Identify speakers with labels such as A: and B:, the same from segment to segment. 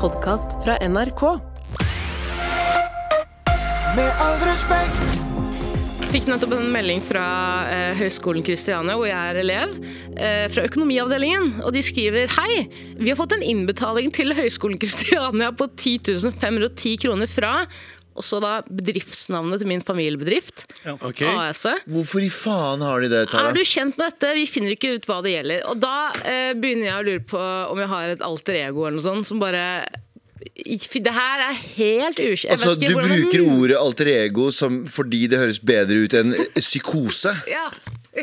A: podkast fra NRK.
B: Med all respekt,
C: Fikk nettopp en melding fra eh, Høgskolen Kristiania, hvor jeg er elev, eh, fra økonomiavdelingen. Og de skriver Hei, vi har fått en innbetaling til Høgskolen Kristiania på 10 510 kroner fra Og så da bedriftsnavnet til min familiebedrift,
D: Ok.
C: AS-et.
E: Hvorfor i faen har de det, Tara?
C: Er du kjent med dette? Vi finner ikke ut hva det gjelder. Og da eh, begynner jeg å lure på om jeg har et alter ego eller noe sånt som bare Det her er helt ukjent.
E: Altså, du bruker ordet alter ego som, fordi det høres bedre ut enn psykose.
C: Ja.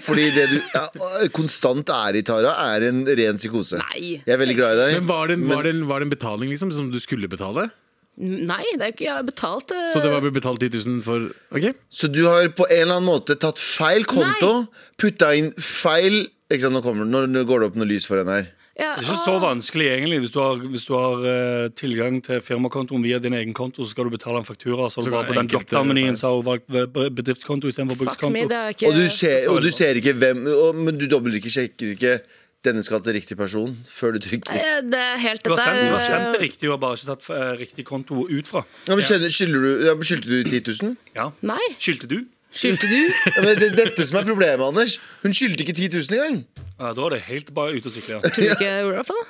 E: Fordi det du ja, konstant er i, Tara, er en ren psykose.
C: Nei.
E: Jeg er veldig glad i
D: Men
E: deg.
D: var det, en- var, det en, var det en betaling liksom som du skulle betale?
C: Nei, det er ikke, jeg har betalt. eh,
D: Så det var betalt 10 000 for Ok,
E: Så du har på en eller annen måte tatt feil konto,
C: Nei.
E: putta inn feil ikke sant, nå, kommer, nå, nå går det opp noe lys for henne her.
C: ja, Ah,
F: Det er ikke så vanskelig egentlig Hvis du har, hvis du har eh, tilgang til firmakontoen via din egen konto, så skal du betale en faktura. Så,
D: Så
F: har du
D: kan
F: bare på den
D: enkelte-
F: drop-down-menyen så har hun valgt eh, bedriftskonto istedenfor
C: Fuck me,
F: brukskonto.
C: det er ikke
E: Og du ser, og du ser ikke hvem og, Men du dobbelt ikke sjekker ikke denne skal til riktig person før du trykker.
C: Eh, Det er helt
F: Du har
C: dette er-
F: sendt, du har sendt det riktig, hun har bare ikke tatt eh, riktig konto ut fra.
E: Ja, men skjønner- skylder du, ja, men skyldte du 10 000?
F: Ja.
C: Nei,
F: Skyldte du?
C: skyldte du?
E: Ja, men det er dette som er problemet, Anders. Hun skyldte ikke 10 000 engang.
F: Ja, da er det helt bare ute å sykle. Ja.
C: Tror du ikke jeg gjorde det? i hvert fall?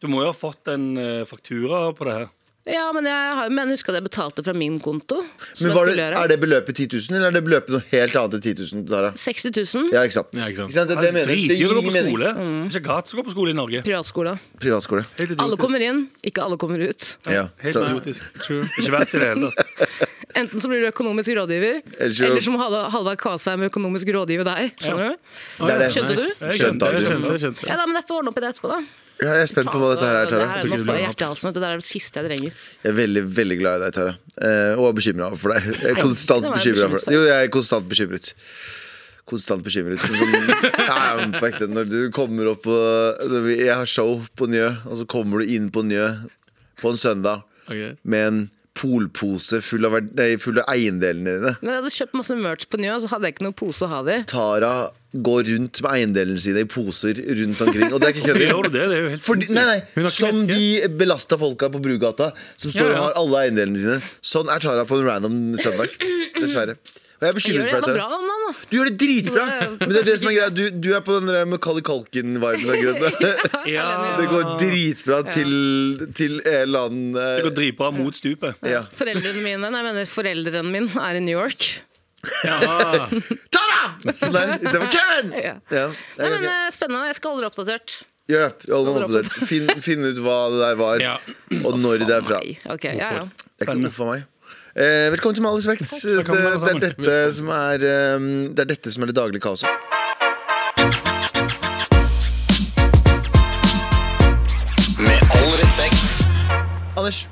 F: Du må jo ha fått en eh, faktura på det her.
C: Ja, men jeg har- men husker at jeg betalte fra min konto. Som
E: Men
C: jeg
E: var
C: skulle
E: det,
C: gjøre.
E: Er det beløpet 10 000, eller er det beløpet noe helt annet enn 10 000? Tara?
C: 60 000.
E: Ja, ikke sant?
D: Ja, ikke sant.
E: Det,
F: Det
E: det,
F: er
E: mener, jeg. det
F: dritdyrt å
E: gir
F: gå på
E: ingen mening.
F: skole. Det er ikke gratis å gå på skole i Norge.
C: Privatskole.
E: Privatskole.
F: Helt idiotisk.
C: Mm. Alle kommer inn, ikke alle kommer ut.
E: Ja.
F: Helt
E: Så,
F: idiotisk. Ikke verdt i det hele tatt.
C: Enten så blir du økonomisk rådgiver,
E: Eller så-
C: eller som Hal- Halvard Kvassheim, økonomisk rådgiver deg. Skjønner du?
E: det er det.
C: Skjønte du?
F: Jeg
E: Skjønte
F: skjønte, jeg
E: aldri.
F: skjønte.
D: jeg skjønte
C: Ja, da, men Jeg får ordne opp i det etterpå, da.
E: Ja, jeg er spent på hva dette her er,
C: det
E: Tara.
C: her nå
D: Jeg tror ikke det
C: får
D: blir
C: jeg hjertehalsen. vet du. Det altså. er det siste jeg trenger.
E: Jeg er veldig veldig glad i deg, Tara. Eh, og er bekymra for deg. Jeg er konstant
C: det var jeg
E: bekymra for
C: bekymret for.
E: deg. Jo, jeg er konstant bekymret. Konstant bekymret. Sånn, som- Ja, men på ekte, når du kommer opp på når vi- Jeg har show på Njø, og så kommer du inn på Njø på en søndag
D: Ok.
E: med en polpose full av, verd- nei, full av eiendelene dine.
C: Men jeg hadde kjøpt masse merch på Njø, så hadde jeg ikke noen pose å ha det i.
E: Tara går rundt med eiendelene sine i poser rundt omkring. Og det er ikke kødd.
F: Gjør du det? Det er jo helt
E: Fordi, nei,
D: Hun
E: nei,
D: har ikke
E: som
D: veske.
E: de belasta folka på Brugata, som står
D: Ja, ja.
E: og har alle eiendelene sine. Sånn er Tara på en random søndag. Dessverre. Og jeg er
C: Jeg gjør
E: bekymret
C: det
E: for
C: jævla
E: deg,
C: bra
E: Tara.
C: om dagen, da.
E: Du gjør det dritbra!
C: Det-
E: Men det er det som er greia. Du, du er på den der Macauley Culkin-viben. av grunnen.
F: Ja.
E: Det går dritbra til, til en eller annen
F: Det
E: eh,
F: går dritbra mot stupet.
E: ja.
C: Foreldrene mine, nei, jeg mener foreldrene min er i New York.
D: Ja.
E: Tara! Sånn der, istedenfor Kevin!
C: Ja.
E: Ja, det
C: Nei,
E: er
C: men
E: ganske-
C: eh, Spennende, jeg skal holde deg oppdatert.
E: Gjør det.
C: Skal
E: Hold meg
C: dra på
E: oppdatert. Finn, finn ut hva det der var,
D: Ja.
E: og når det er fra.
C: Nei, ok, ja, ja.
E: Det er ikke noe for meg. Eh, velkommen til Med all respekt. Det,
F: velkommen alle
E: det, er
F: sammen.
E: dette som er, eh, det er dette som er det daglige kaoset.
B: med all respekt,
E: Anders,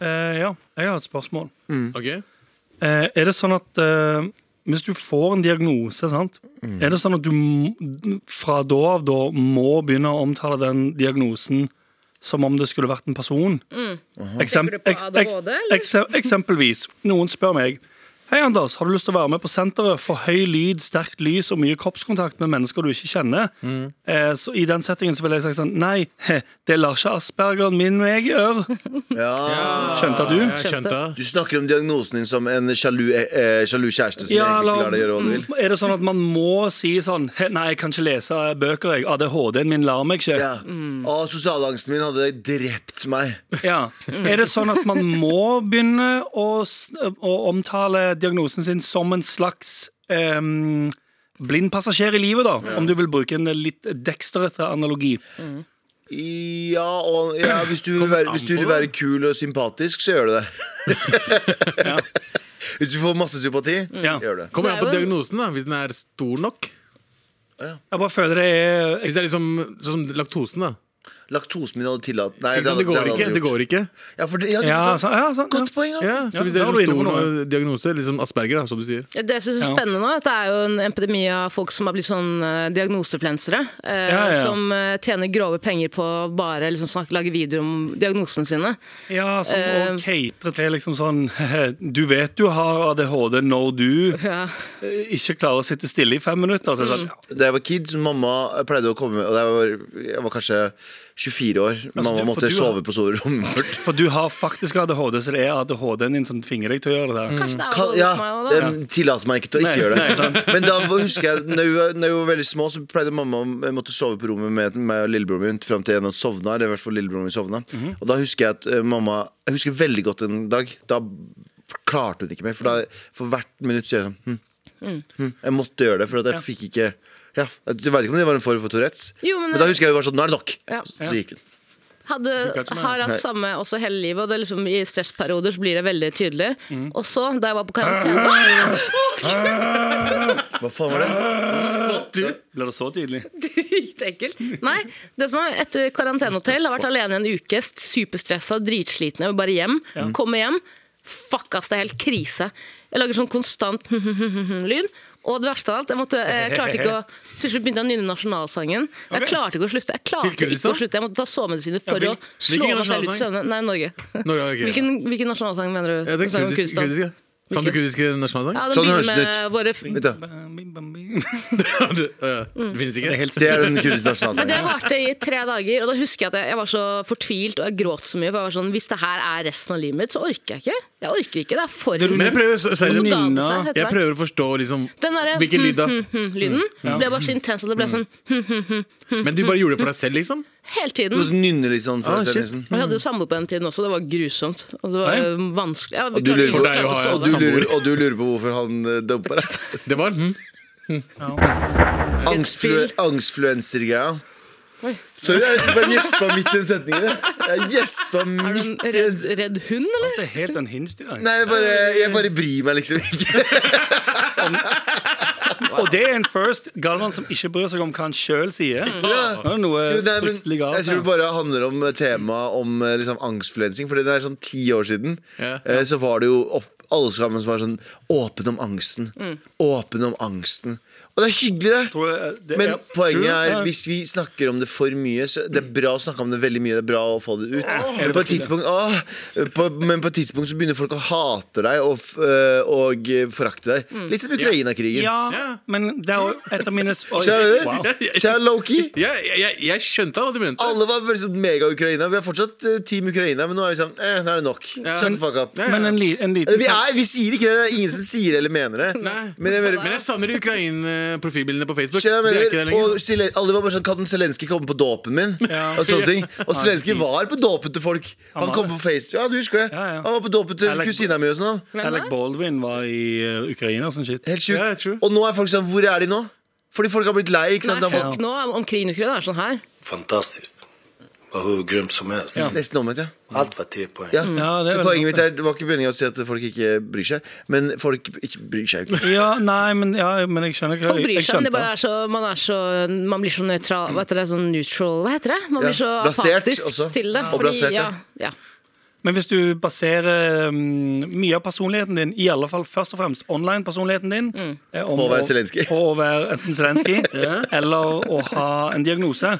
F: Eh, ja, jeg har et spørsmål.
D: Ok.
F: Eh, er det sånn at eh, hvis du får en diagnose, sant? er det sånn at du m- fra da av da må begynne å omtale den diagnosen som om det skulle vært en person? Eksem-
C: Mm. Tenker du på
F: eks- eks-
C: ADHD, eller?
F: ekse- eksempelvis, noen spør meg Hei Anders, har du lyst til å være med på senteret for høy lyd, sterkt lys og mye kroppskontakt med mennesker du ikke kjenner? Eh, så I den settingen så ville jeg sagt sånn Nei, det lar ikke aspergeren min meg gjøre. Skjønte du?
D: Jeg skjønte.
E: du snakker om diagnosen din som en sjalu, eh, sjalu kjæreste som egentlig ikke lar deg gjøre hva du vil.
F: Er det sånn at man må si sånn «He, Nei, jeg kan ikke lese bøker, jeg. ADHD-en min lar meg ikke.
E: Ja. Å, sosialangsten min hadde drept meg.
F: Ja. Er det sånn at man må begynne å, s- å omtale diagnosen sin som en slags em, blind passasjer i livet, da? Om du vil bruke en litt dekstrete analogi.
E: Ja, og ja, hvis, du vil være, hvis du vil være kul og sympatisk, så gjør du det. Hvis du får masse sympati,
D: Mm.
F: Ja.
E: gjør du det.
D: Kommer an på
C: Det er jo en-
D: diagnosen, da, hvis den er stor nok.
F: Jeg bare føler det er
D: Hvis det er liksom sånn som laktosen, da.
E: Laktosen min hadde tillatt Nei,
D: Ikke sant, Det går ikke. Det går ikke.
E: Ja, for det, ja,
F: Ja,
E: du,
F: så, ja, sant,
E: godt
F: ja.
E: poeng. Anders.
D: Ja, så
F: Ja,
D: hvis
F: da
D: det er
F: er du
D: liksom
F: inne på
D: stor
F: noe.
D: nok diagnose, liksom asperger, da, som du sier.
C: Det jeg synes er
F: Ja.
C: spennende nå, dette er jo en epidemi av folk som har blitt sånn eh, diagnoseflensere. Eh,
F: Ja, ja.
C: Som eh, tjener grove penger på å bare liksom, snakke, lage videoer om diagnosene sine.
F: ja, som å catere til liksom sånn Du vet du har ADHD når du
C: Ja.
F: eh, ikke klarer å sitte stille i fem minutter. Så, er det sånn,
E: Da jeg var kid, så mamma pleide å komme Og da jeg var, jeg var kanskje 24 år.
D: Altså,
E: Mamma
F: du- for
E: måtte
F: du-
E: sove på soverommet vårt.
F: For du har faktisk ADHD, så det er ADHD-en din som tvinger deg til å gjøre det. der.
C: Kanskje det er
E: Kan,
C: noe
E: Mm. ja,
C: hos meg også, da.
E: jeg tillater meg ikke til å ikke
F: Nei,
E: gjøre
F: nei,
E: det.
F: sant.
E: Men da var- husker jeg, når vi var, når vi var veldig små, så pleide mamma å måtte sove på rommet med meg og lillebroren min fram til en av oss sovna. Eller i hvert fall lillebroren min sovna.
F: Mhm.
E: Og da husker jeg at eh, mamma Jeg husker veldig godt en dag. Da klarte hun ikke mer. For, da, for hvert minutt så gjør jeg sånn hm,
C: Mm.
E: hm. Jeg måtte gjøre det, for at jeg fikk ikke ja, Du veit ikke om det var en form for Tourettes,
C: Jo, men-
E: men, da husker jeg hun var sånn Nå er det nok!
C: Ja.
E: Så gikk hun.
C: Hadde,
F: kan ikke meg.
C: har hatt
E: Nei.
C: samme også hele livet, og det er liksom, i stressperioder så blir det veldig tydelig.
F: Mm.
C: Og så, da jeg var på karantene
E: Hva faen var det?
F: Blir det Eh, så tidlig?
C: Dritekkelt. Nei, det som er etter karantenehotell, har vært alene en uke, st- superstressa, dritsliten, jeg vil bare hjem. Kommer hjem, fuck ass, det er helt krise. Jeg lager sånn konstant lyd. Og det verste av alt, jeg måtte, jeg klarte ikke å Til slutt begynte jeg å nynne nasjonalsangen. Jeg
F: Ok.
C: klarte ikke å slutte. Jeg klarte
D: Til
C: ikke å
D: Kurdistan?
C: slutte. Jeg måtte ta sovemedisiner for
D: hvil-
C: å slå
D: hvilken
C: meg selv ut i
D: nasjonalsang?
C: søvne. Nei, Norge.
D: Norge, ok.
C: Hvilken, hvilken nasjonalsang mener du?
D: Ja, det er
C: Sang om
D: kurdisk,
C: Kurdistan?
D: kurdiske. Kan du kurdiske nasjonalsang?
C: Ja, den
E: Sånn
C: begynner
E: høres det
C: med våre f-
E: Vet du,
D: det, øh,
C: Mm.
D: det finnes ikke.
F: Helt
E: Det er den kurdiske
C: Men
E: nasjonalsangen.
C: det varte i tre dager, og da husker jeg at jeg, jeg var så fortvilt og jeg gråt så mye. For jeg var sånn, Hvis det her er resten av livet mitt, så orker jeg ikke. Jeg orker ikke, Det er for
D: Men jeg prøver, så-
C: Og så
D: seriøst,
C: ga det
F: Nina,
C: seg etter
D: jeg
C: hvert.
D: prøver å forstå liksom,
C: Den derre
D: hvilken lyd da.
C: lyden ble bare så intens at det ble sånn
D: Men du bare gjorde det for deg selv, liksom?
C: hele tiden.
E: Du nynner litt sånn. for
D: Ah,
E: deg selv,
D: shit.
C: Og
E: Nissen.
C: jeg hadde jo samboer på den tiden også, det var grusomt. Og det var
F: Nei.
C: eh, vanskelig. Ja,
E: Og du lurer
D: For
E: på,
D: deg å ha-
E: og du lurer, og du lurer på hvorfor han eh, dumpa deg.
D: Det var hm.
E: Angstflu,
C: spill.
E: angstfluenser-greia.
C: Oi.
E: Sorry, jeg bare gjespa midt i en setning. der. Jeg gjespa
C: Er du
E: midt
C: en
E: i en
C: redd,
E: s-
C: redd hund, eller?
F: Det er helt unhinged i dag.
E: Nei, jeg bare, jeg bare bryr meg liksom ikke.
F: Og det er en first Galvan som ikke bryr seg om hva han sjøl sier. Det er noe
E: Jo, nei, men
F: fryktelig
E: jeg
F: galt.
E: tror det
F: her.
E: bare handler om temaet om eh, liksom, angstfluensing. Fordi det er sånn ti år siden,
D: Ja.
E: eh, så var det jo opp, alle sammen som var sånn åpen om angsten. Åpen om angsten. Og det er hyggelig, det.
F: Tror jeg- eh, det
E: Men
F: er-
E: poenget
F: Tror jeg-
E: er, hvis vi snakker om det for mye så Det er bra å snakke om det veldig mye, det er bra å få det ut. Men på et tidspunkt, åh, på, men på et tidspunkt så begynner folk å hate deg og, f- øh, og forakte deg. Litt som Ukraina-krigen.
F: Mm. Ja, men det er jo et av mine Oi,
E: Ser du det?
F: wow.
E: Kjære Loki.
D: jeg, jeg, jeg skjønte hva du mente.
E: Alle var veldig sånn mega-Ukraina. Vi er fortsatt eh, Team Ukraina, men nå er vi sånn eh, Nå er det nok. Shut the fuck up.
F: Men en, li, en
E: Eller,
F: liten
E: Vi, er, vi sier ikke det. Det er ingen som sier det eller mener det.
D: Nei.
E: Men jeg mener,
D: Men jeg savner Ukraina-profilbildene på Facebook.
E: Skjønner
D: Det er
E: jeg mener,
D: ikke det lenger.
E: og Zelen- alle var bare sånn Kan Zelenskyj komme på dåpen min? Og sånne ting Og Zelenskyj var på dåpen til folk. Han,
F: var
E: kom
F: det.
E: på Face Ja, du husker det.
F: Ja, ja.
E: Han var på dåpen til
F: Jeg liker-
E: kusina mi og sånn. han.
C: Hvem
F: Alec
C: da?
F: Baldwin var i eh, Ukraina og sånn shit.
E: Helt
D: Ja, true.
E: sjukt. Og nå er folk sånn Hvor er de nå? Fordi folk har blitt lei. ikke sant?
C: Nei,
E: Da var-
C: fuck nå, om krigen i Ukraina er sånn her.
A: Fantastiskt. Var hur grymt som helst.
E: Nesten omvendt, ja.
A: Allt var 10 poäng.
E: ja.
F: Mm. Ja, det er
E: Så
F: veldig
E: poenget mitt er Det var ikke meningen å si at folk ikke bryr seg, men folk ikke bryr seg jo ikke.
F: Ja, nei, men, ja, men jeg skjønner ikke
C: Folk bryr
F: jeg
C: seg, men
F: skjønte
C: det bare er så, man, er så, man blir så nøytral Hva heter det? Sånn neutral Hva heter det? Man blir
E: Ja,
C: så
E: blasert
C: apatisk
E: også.
C: til det.
E: Og blasert,
C: ja.
E: ja.
C: ja.
F: Men hvis du baserer mm, mye av personligheten din, i alle fall først og fremst online-personligheten din eh, om
E: På å være
F: å-
E: Zelenskyj.
F: På å være enten Zelenskyj eller å ha en diagnose,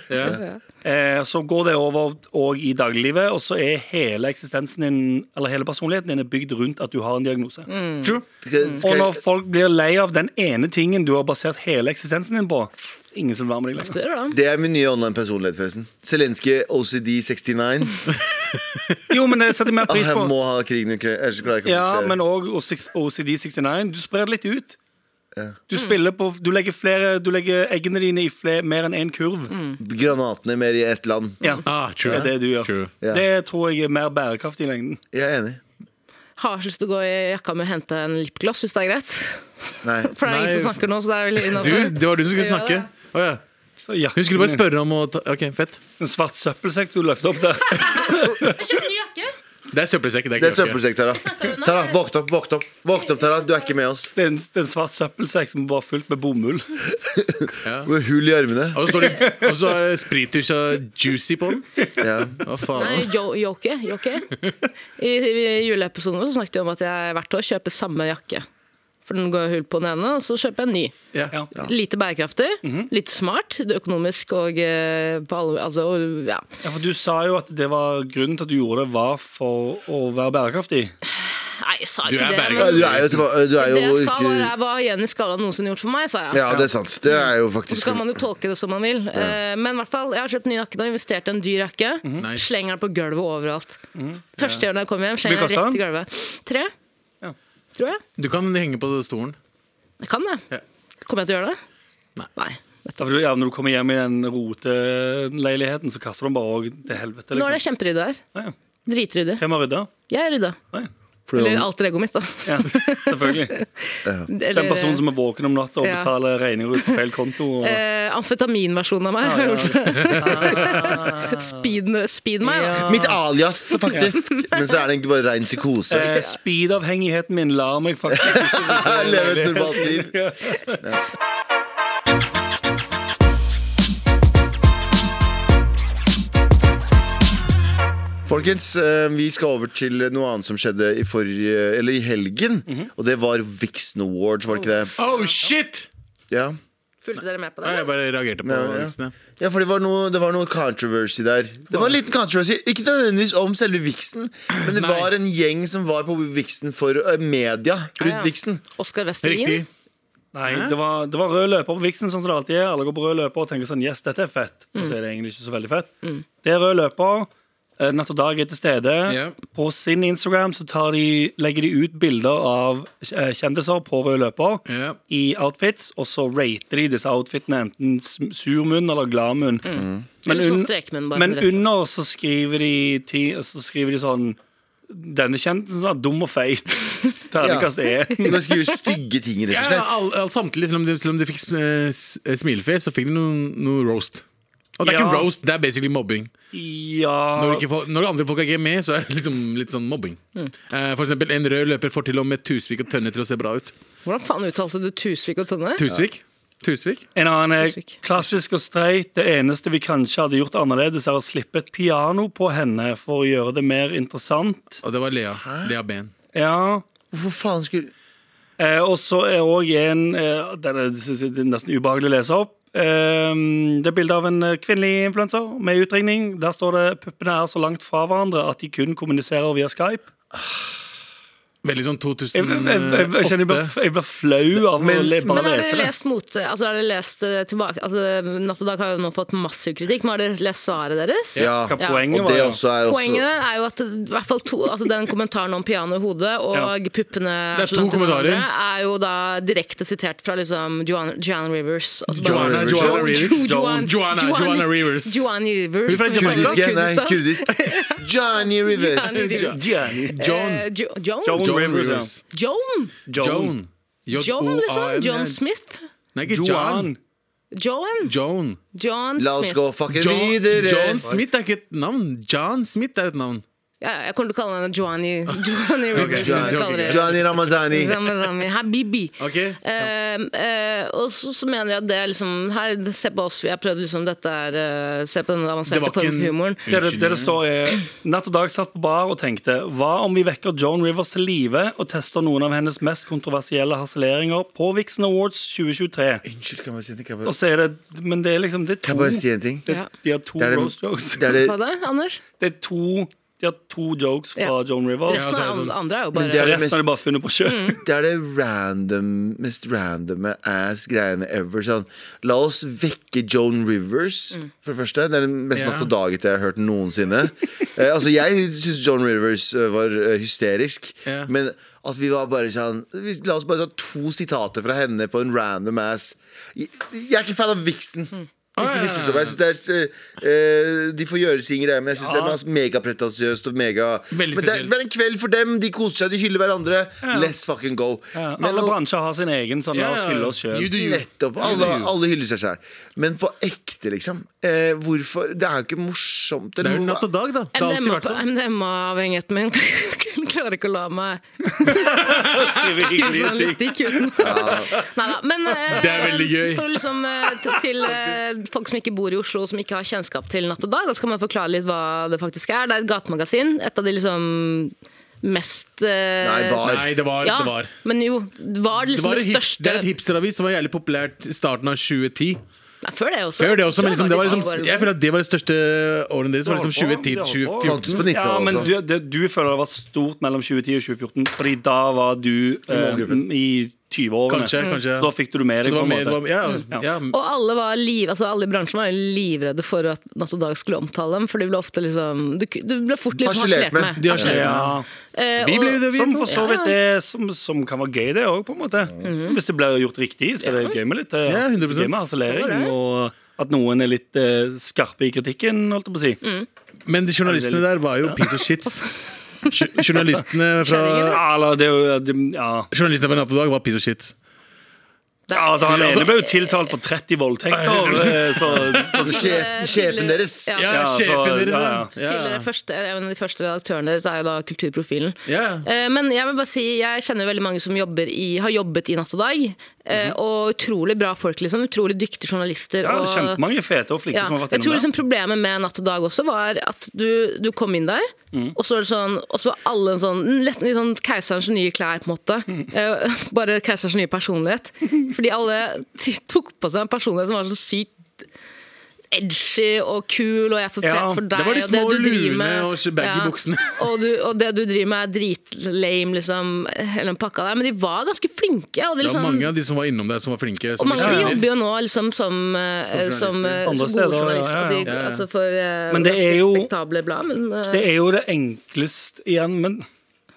F: eh, så går det over og i dagliglivet, og så er hele eksistensen din, eller hele personligheten din, er bygd rundt at du har en diagnose.
E: Mm. Skal,
F: Mm. Og
E: skal
F: når
E: jeg,
F: folk blir lei av den ene tingen du har basert hele eksistensen din på, ingen som vil være med deg lenger.
C: Det gjør det.
E: det er min nye online personlighet, forresten. Zelenskyj OCD69.
F: Jo, men det setter jeg mer
E: Ah,
F: pris
E: jeg
F: på.
E: må ha krigen i Ukraina. Ellers klarer jeg ikke å
F: Ja,
E: fokusere.
F: men òg OCD69. Du sprer det litt ut. Du spiller på Du legger, flere, du legger eggene dine i fle- mer enn én kurv.
E: Granatene mer i ett land.
F: Ja,
D: Mm. Ah, true.
F: Det er det du gjør.
D: True.
E: Ja.
F: Det tror jeg er mer bærekraftig i lengden.
E: Jeg er enig.
C: Har ikke lyst til å gå i jakka med å hente en lipgloss, hvis det er greit.
E: Nei.
C: For det er ingen som
D: Nei.
C: snakker nå, så det er vel
D: Du,
C: innenfor.
D: det var du som skulle
C: Ja,
D: snakke.
C: det.
D: Å, ja.
F: Så jakken
D: Hun skulle bare
F: din-
D: spørre om å ta Ok, fett.
F: En svart søppelsekk du løfter opp der.
C: Jeg kjøpte ny jakke.
D: Det er søppelsekk. Det
E: Det
D: er ikke
E: er
D: jakke.
E: søppelsekk, Tara. Tara, Våkne opp, våkne opp. Våkne opp, Tara. Du er ikke med oss.
F: Det er en, det er en svart søppelsekk som bare er fylt med bomull.
E: Med hull i armene.
D: Og så står det Og så er det Spritus og Juicy på den.
E: Ja.
D: Hva
C: Nei,
D: faen?
C: jo- joke. joke. I, I juleepisoden vår så snakket vi om at jeg hvert år kjøper samme jakke. For den går hull på den ene, og så kjøper jeg en ny.
D: Ja. Mhm.
C: Lite bærekraftig, litt smart, det er økonomisk og eh, på alle Altså, og, ja.
F: Ja, for du sa jo at det var grunnen til at du gjorde det, var for å være bærekraftig.
C: Nei, jeg sa
D: Du
C: ikke
D: er
C: det.
D: Bergen.
E: Ja,
C: Men
E: Du er jo, tilba- du er
C: det
E: jo
C: jeg sa, var
E: ikke
C: er hva Jenny Skavlan noensinne gjort for meg, sa jeg.
E: Ja, det er sant. Det er jo
C: Og Så
E: faktisk
C: kan man jo tolke det som man vil. Eh, Men i hvert fall, jeg har kjøpt ny jakke nå, investert i en dyr jakke.
F: Mhm.
D: Nice.
C: Slenger den på gulvet overalt. Første gang jeg kommer hjem,
F: Hvor
C: slenger jeg den
F: mye koster
C: rett i gulvet. Tre,
F: Ja.
C: tror jeg.
D: Du kan henge på stolen.
C: Jeg kan det.
D: Ja.
C: Kommer jeg til å gjøre det?
D: Nei.
C: nettopp.
F: Da vil du- Ja, når du kommer hjem i den roteleiligheten, så kaster du den bare òg til helvete.
C: Nå er det
F: Liksom.
C: kjemperyddig her.
F: Ja, ja.
C: Dritryddig.
F: Hvem har rydda?
C: Jeg rydda.
F: Ja, ja.
E: fordi
C: Eller
E: man-
C: alter egoet mitt, da.
F: Ja, selvfølgelig.
C: Eller,
F: Den personen som er våken om natta og
C: Ja.
F: betaler regninger ut på feil konto. Og...
C: eh, Amfetaminversjonen av meg. har
F: Ah, ja.
C: gjort det. speed, speed meg, da.
E: Mitt alias, faktisk. Men så er det egentlig bare rein psykose.
F: Eh, Speed-avhengigheten min lar meg faktisk ikke rydde
E: Jeg lever et normalt liv. Folkens, eh, vi skal over til noe annet som skjedde i, forrige, eller i helgen.
D: Mhm.
E: Og det var Vixen Awards, var det ikke det?
D: Oh, shit!
E: Ja,
C: Fulgte dere med på
D: Nei,
C: det?
D: jeg bare reagerte på
E: Ja, ja.
D: vitsene.
E: ja for det var, noe, det var noe controversy der. Det var en liten controversy, Ikke nødvendigvis om selve Vixen, men det
D: Nei.
E: var en gjeng som var på Vixen for eh, media
C: Ja, ja.
E: rundt Vixen.
C: Oskar Westerlin.
D: Riktig.
F: Nei, det var, det var rød løper på Vixen, sånn som det alltid er. Alle går på rød løper og tenker sånn Yes, dette er fett. Og så er det egentlig ikke så veldig fett. Det er rød løper. eh, Natt og Dag er til stede.
D: Ja.
F: På sin Instagram så tar de, legger de ut bilder av eh, kjendiser på rød løper
D: Ja.
F: i outfits, og så rater de disse outfitene enten s- sur munn eller glad munn. Men,
C: Eller sånn
F: un-
C: strekmunn, bare
F: men
C: rett ut.
F: under så skriver de, ti, så skriver de sånn Denne kjendisen er dum og feit. Terningkast E.
E: De kan skrive stygge ting, rett
D: Ja,
E: og slett.
D: all, all, samtidig, selv om de, selv om de fikk eh, s- eh, smilefjes, så fikk de noe, noe roast. Og det er ikke
F: Ja.
D: roast, det er basically mobbing. Når,
F: Ja
D: ikke folk, når andre folk er ikke med, så er det liksom litt sånn mobbing. Eh, for eksempel, en rød løper får til og med Tusvik og Tønne til å se bra ut.
C: Hvordan faen uttalte du Tusvik og Tønne?
D: Tusvik? Tusvik?
F: En annen er
C: Klassisk.
F: klassisk og streit. Det eneste vi kanskje hadde gjort annerledes, er å slippe et piano på henne for å gjøre det mer interessant.
D: Og det var Lea. Lea Ben.
F: Ja.
E: Hvorfor faen skulle
F: Eh, og så er òg en eh, Den er synes jeg det er nesten ubehagelig å lese opp. Eh, det er bilde av en eh, kvinnelig influenser med utringning. Der står det puppene er så langt fra hverandre at de kun kommuniserer via Skype.
D: Veldig sånn
F: Jeg, jeg, jeg, jeg, kjenner jeg blir
D: bare
F: f- jeg blir flau av å
E: eh, Men-
F: le, bare
C: Men har
F: lese
C: dere
F: det.
C: lest mot, altså har dere lest eh, tilbake altså, Natt og Dag har jo nå fått massiv kritikk, men har dere lest svaret deres?
E: Ja. altså-
F: Hva
C: Ja.
F: poenget
E: Og det
F: var? ja.
E: også er
C: Poenget
E: også
C: er jo at i hvert fall to, altså den kommentaren om piano i hodet og
F: Ja.
C: puppene
D: Det
C: så
D: er to
C: langt unna
D: kommentarer.
C: hverandre, er jo da direkte sitert fra liksom Joanna Joanna Rivers. Altså bare-
D: Joanna,
E: Joanna
D: Joanna
C: Jo-
D: Rivers.
C: Joanna-
D: Joanna, Joanna Rivers.
C: Joanna Rivers.
D: Hun er fra
C: som vi
D: Jamaica.
C: snakker
E: Kurdisk,
C: om,
E: nei,
C: Kurdistan.
E: kurdisk. Johnny Rivers.
C: Johnny Rivers.
D: John.
C: Eh, Jo- Joan?
F: Joan
D: John
F: Rivers, ja.
D: Rivers.
C: Joan?
D: Joan.
C: Joan, liksom?
D: J-O-A-N.
C: John Smith?
D: Nei, ikke
F: Joan.
D: Joan.
C: Joan?
D: Joan.
C: John
E: La oss
C: Smith.
E: gå fucking
D: John,
E: videre.
D: John Smith er ikke et navn. John Smith er et navn.
C: Ja, jeg kommer til å kalle henne Joanny Joanny Rivers. som vi kaller det.
E: Johnny Ramazani.
C: Zaman Rami, Habibi.
D: Ok.
C: Eh, eh, og så, så mener jeg at det er liksom her, Se på oss, vi har prøvd liksom dette er eh, Se på den
D: Det
C: avanserte
D: var ikke
C: formen
D: en-
C: for humoren.
F: Det det, det det står er Natt og dag satt på bar og tenkte Hva om vi vekker Joan Rivers til live og tester noen av hennes mest kontroversielle harseleringer på Vixen Awards 2023?
E: Unnskyld, kan jeg bare si en ting? Kan jeg bare-
F: Og så er det Men det er liksom Det
E: kan
F: er
E: jeg bare si
F: to,
E: en ting?
F: det,
C: Ja.
F: de har to
E: Det er det-
F: roast jokes.
E: Det er det,
C: Hva da, Anders?
F: Det er to De har to jokes fra
C: Ja.
F: Joan Rivers.
D: Ja,
C: Resten
D: så er
C: av
D: det sånn-
C: andre er Mm. jo
E: Men altså, det
C: bare
E: er det
F: Resten har de
E: mest-
F: bare funnet på sjøl.
E: det er det random, mest randome ass-greiene ever. Sånn. La oss vekke Joan Rivers, for det første. Det er den mest
D: Mm. Ja.
E: natt og dag-ete jeg har hørt noensinne. eh, altså, jeg syns Joan Rivers eh, var eh, hysterisk,
D: Ja.
E: men at vi var bare sånn vi, La oss bare ta to sitater fra henne på en random ass Jeg, jeg er ikke fan av Vixen. Ikke
D: Ah,
E: misforstå meg. Jeg synes det er, eh, de får gjøre sine greier, men jeg syns det er megapretensiøst og mega
D: Veldig
E: Men det er,
D: spesielt.
E: det er en kveld for dem. De koser seg, de hyller hverandre. Let's fucking go.
F: Ja,
E: Men
F: alle
E: al-
F: bransjer har sin egen sånn La oss hylle oss sjøl.
D: You do you.
E: Nettopp. Alle, alle hyller seg sjøl. Men på ekte, liksom. Eh, hvorfor Det er jo ikke morsomt.
D: Det
E: Eller,
D: er jo natt og dag, da. Det har alltid vært sånn.
C: MDMA-avhengigheten min klarer ikke å la meg skrive journalistikk uten Neida, Men eh,
D: Det er veldig gøy.
C: For å liksom, eh, t- til eh, folk som ikke bor i Oslo, som ikke har kjennskap til Natt og dag, da skal man forklare litt hva det faktisk er. Det er et gatemagasin. Et av de liksom mest eh,
E: Nei, var.
D: Nei, det var,
C: Ja,
D: det var.
C: men jo, var det
D: Det,
C: liksom
D: var
C: det,
D: et hip,
C: største
D: det er et hipsteravis som var jævlig populært i starten av 2010.
C: Nei, før det også.
D: Før det også,
C: Tror
D: men liksom, det var
C: de
D: liksom,
C: ti årene.
D: jeg føler at det var det største årene deres. Det var liksom 2010 til
E: Fantes på
D: 2014.
E: 90-tallet
F: Ja, men
E: også.
F: du,
C: altså.
F: det, du føler det har vært stort mellom 2010 og 2014, fordi da var du eh, i 20-årene.
D: Kanskje, kanskje.
F: Da fikk du det med
D: Så
F: deg.
D: det var
F: på en
D: mer, det
F: måte.
D: var, ja, ja,
C: Og alle, var liv, altså alle i bransjen var jo livredde for at Natt og Dag skulle omtale dem, for de ble ofte liksom Du, ku- du ble fort liksom harselert
E: Harselert med.
C: med.
D: De har skjedd.
F: Ja.
C: Eh,
D: Vi
C: og-
D: ble jo det, vi
F: Som
D: to.
F: for så vidt er, som, som kan være gøy, det òg, på en måte.
C: Mhm.
F: Hvis det blir gjort riktig, så er det gøy med litt eh,
D: Ja, 100%.
F: gøy med
C: Det
F: harselering.
C: var det.
F: Og at noen er litt eh, skarpe i kritikken, holdt jeg på å si.
C: Mm,
D: Men de journalistene der var jo piece of shits. Jo- Journalistene fra
F: Ja, eller det er jo det- Ja.
D: Journalistene fra Natt og Dag var piece of shits.
F: ja altså, han ene ble jo tiltalt for 30 voldtekter, eh, så, så det skjer.
E: Sjef, sjefen deres.
C: eh, Ja.
D: Ja,
F: Ja, så-
D: sjefen deres,
F: ja,
D: ja.
C: Tidligere første, en av de første redaktørene deres er jo da Kulturprofilen.
D: Ja.
C: Eh, Men jeg vil bare si, jeg kjenner veldig mange som jobber i, har jobbet i Natt og Dag. eh,
D: Mhm.
C: Og utrolig bra folk, liksom. Utrolig dyktige journalister.
F: Ja,
C: og-
F: Kjempemange fete og flinke
C: Ja,
F: som har vært
C: Jeg tror
F: innom
C: liksom Problemet med Natt og Dag også var at du, du kom inn der,
D: Mm.
C: og, så var det sånn, og så var alle en sånn, nesten litt sånn keiserens nye klær, på en måte.
D: Mm.
C: Eh, Bare keiserens nye personlighet. Fordi alle t- tok på seg en personlighet som var så sykt edgy og kul, og jeg er for fet
F: Ja,
C: for deg.
D: det var de
C: og
D: små
C: du driver
D: luene
C: med-
D: og baggy buksene.
C: og, du, og det du driver med, er dritlame, liksom. Hele den pakka der. Men de var ganske flinke. Og det,
D: Det var
C: liksom,
D: mange av de som var innom der, som var flinke.
C: og
D: Som
C: mange av de
D: journalister.
C: jobber jo nå liksom som, eh,
D: Som
C: som, eh,
F: journalister.
C: som
F: Andre steder,
C: gode journalister.
F: ja, ja, ja.
C: Altså,
D: Ja, ja.
C: altså for eh,
F: Men det
C: ganske
F: er jo-
C: respektable blad. Men, eh,
F: Det er jo det enkleste igjen, men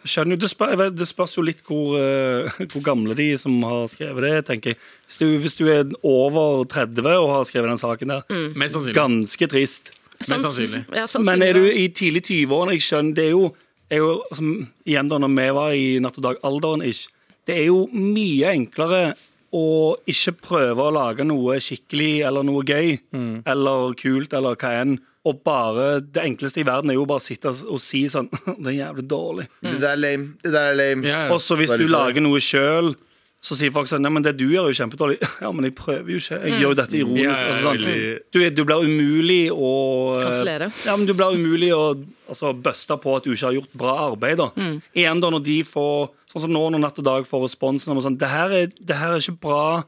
F: jeg skjønner jo, det, spør, jeg vet- det spørs jo litt hvor, eh, hvor gamle de som har skrevet det, tenker jeg. Hvis du, hvis du er over 30 og har skrevet den saken der,
D: Mest sannsynlig.
F: ganske trist.
D: Mest sannsynlig.
C: ja, sannsynlig,
F: Men er du
C: ja.
F: i tidlig 20-årene, jeg skjønner, det er jo, er jo altså, igjen da når vi var i natt og dag-alderen, ish, det er jo mye enklere å ikke prøve å lage noe skikkelig eller noe gøy
D: Mm.
F: eller kult eller hva enn. Og bare, Det enkleste i verden er jo bare å sitte og si sånn Det er jævlig dårlig.
E: Det der er lame. Det der er lame.
D: Ja, sånn. ja.
F: Og så hvis
E: Veldig
F: du
E: sant.
F: lager noe sjøl, så sier folk sånn Nei, men det du gjør, er jo kjempedårlig. Ja, men jeg prøver jo ikke. Jeg gjør jo dette
D: Mm.
F: ironisk.
D: Ja, ja,
F: altså, sånn.
D: veldig-
F: du, er- du blir umulig å eh,
C: Kansellere.
F: Ja, men du blir umulig å altså, bøste på at du ikke har gjort bra arbeid. Da. Igjen da når de får Sånn som nå når Natt og Dag får responsen om sånn Det her er, det her er ikke bra.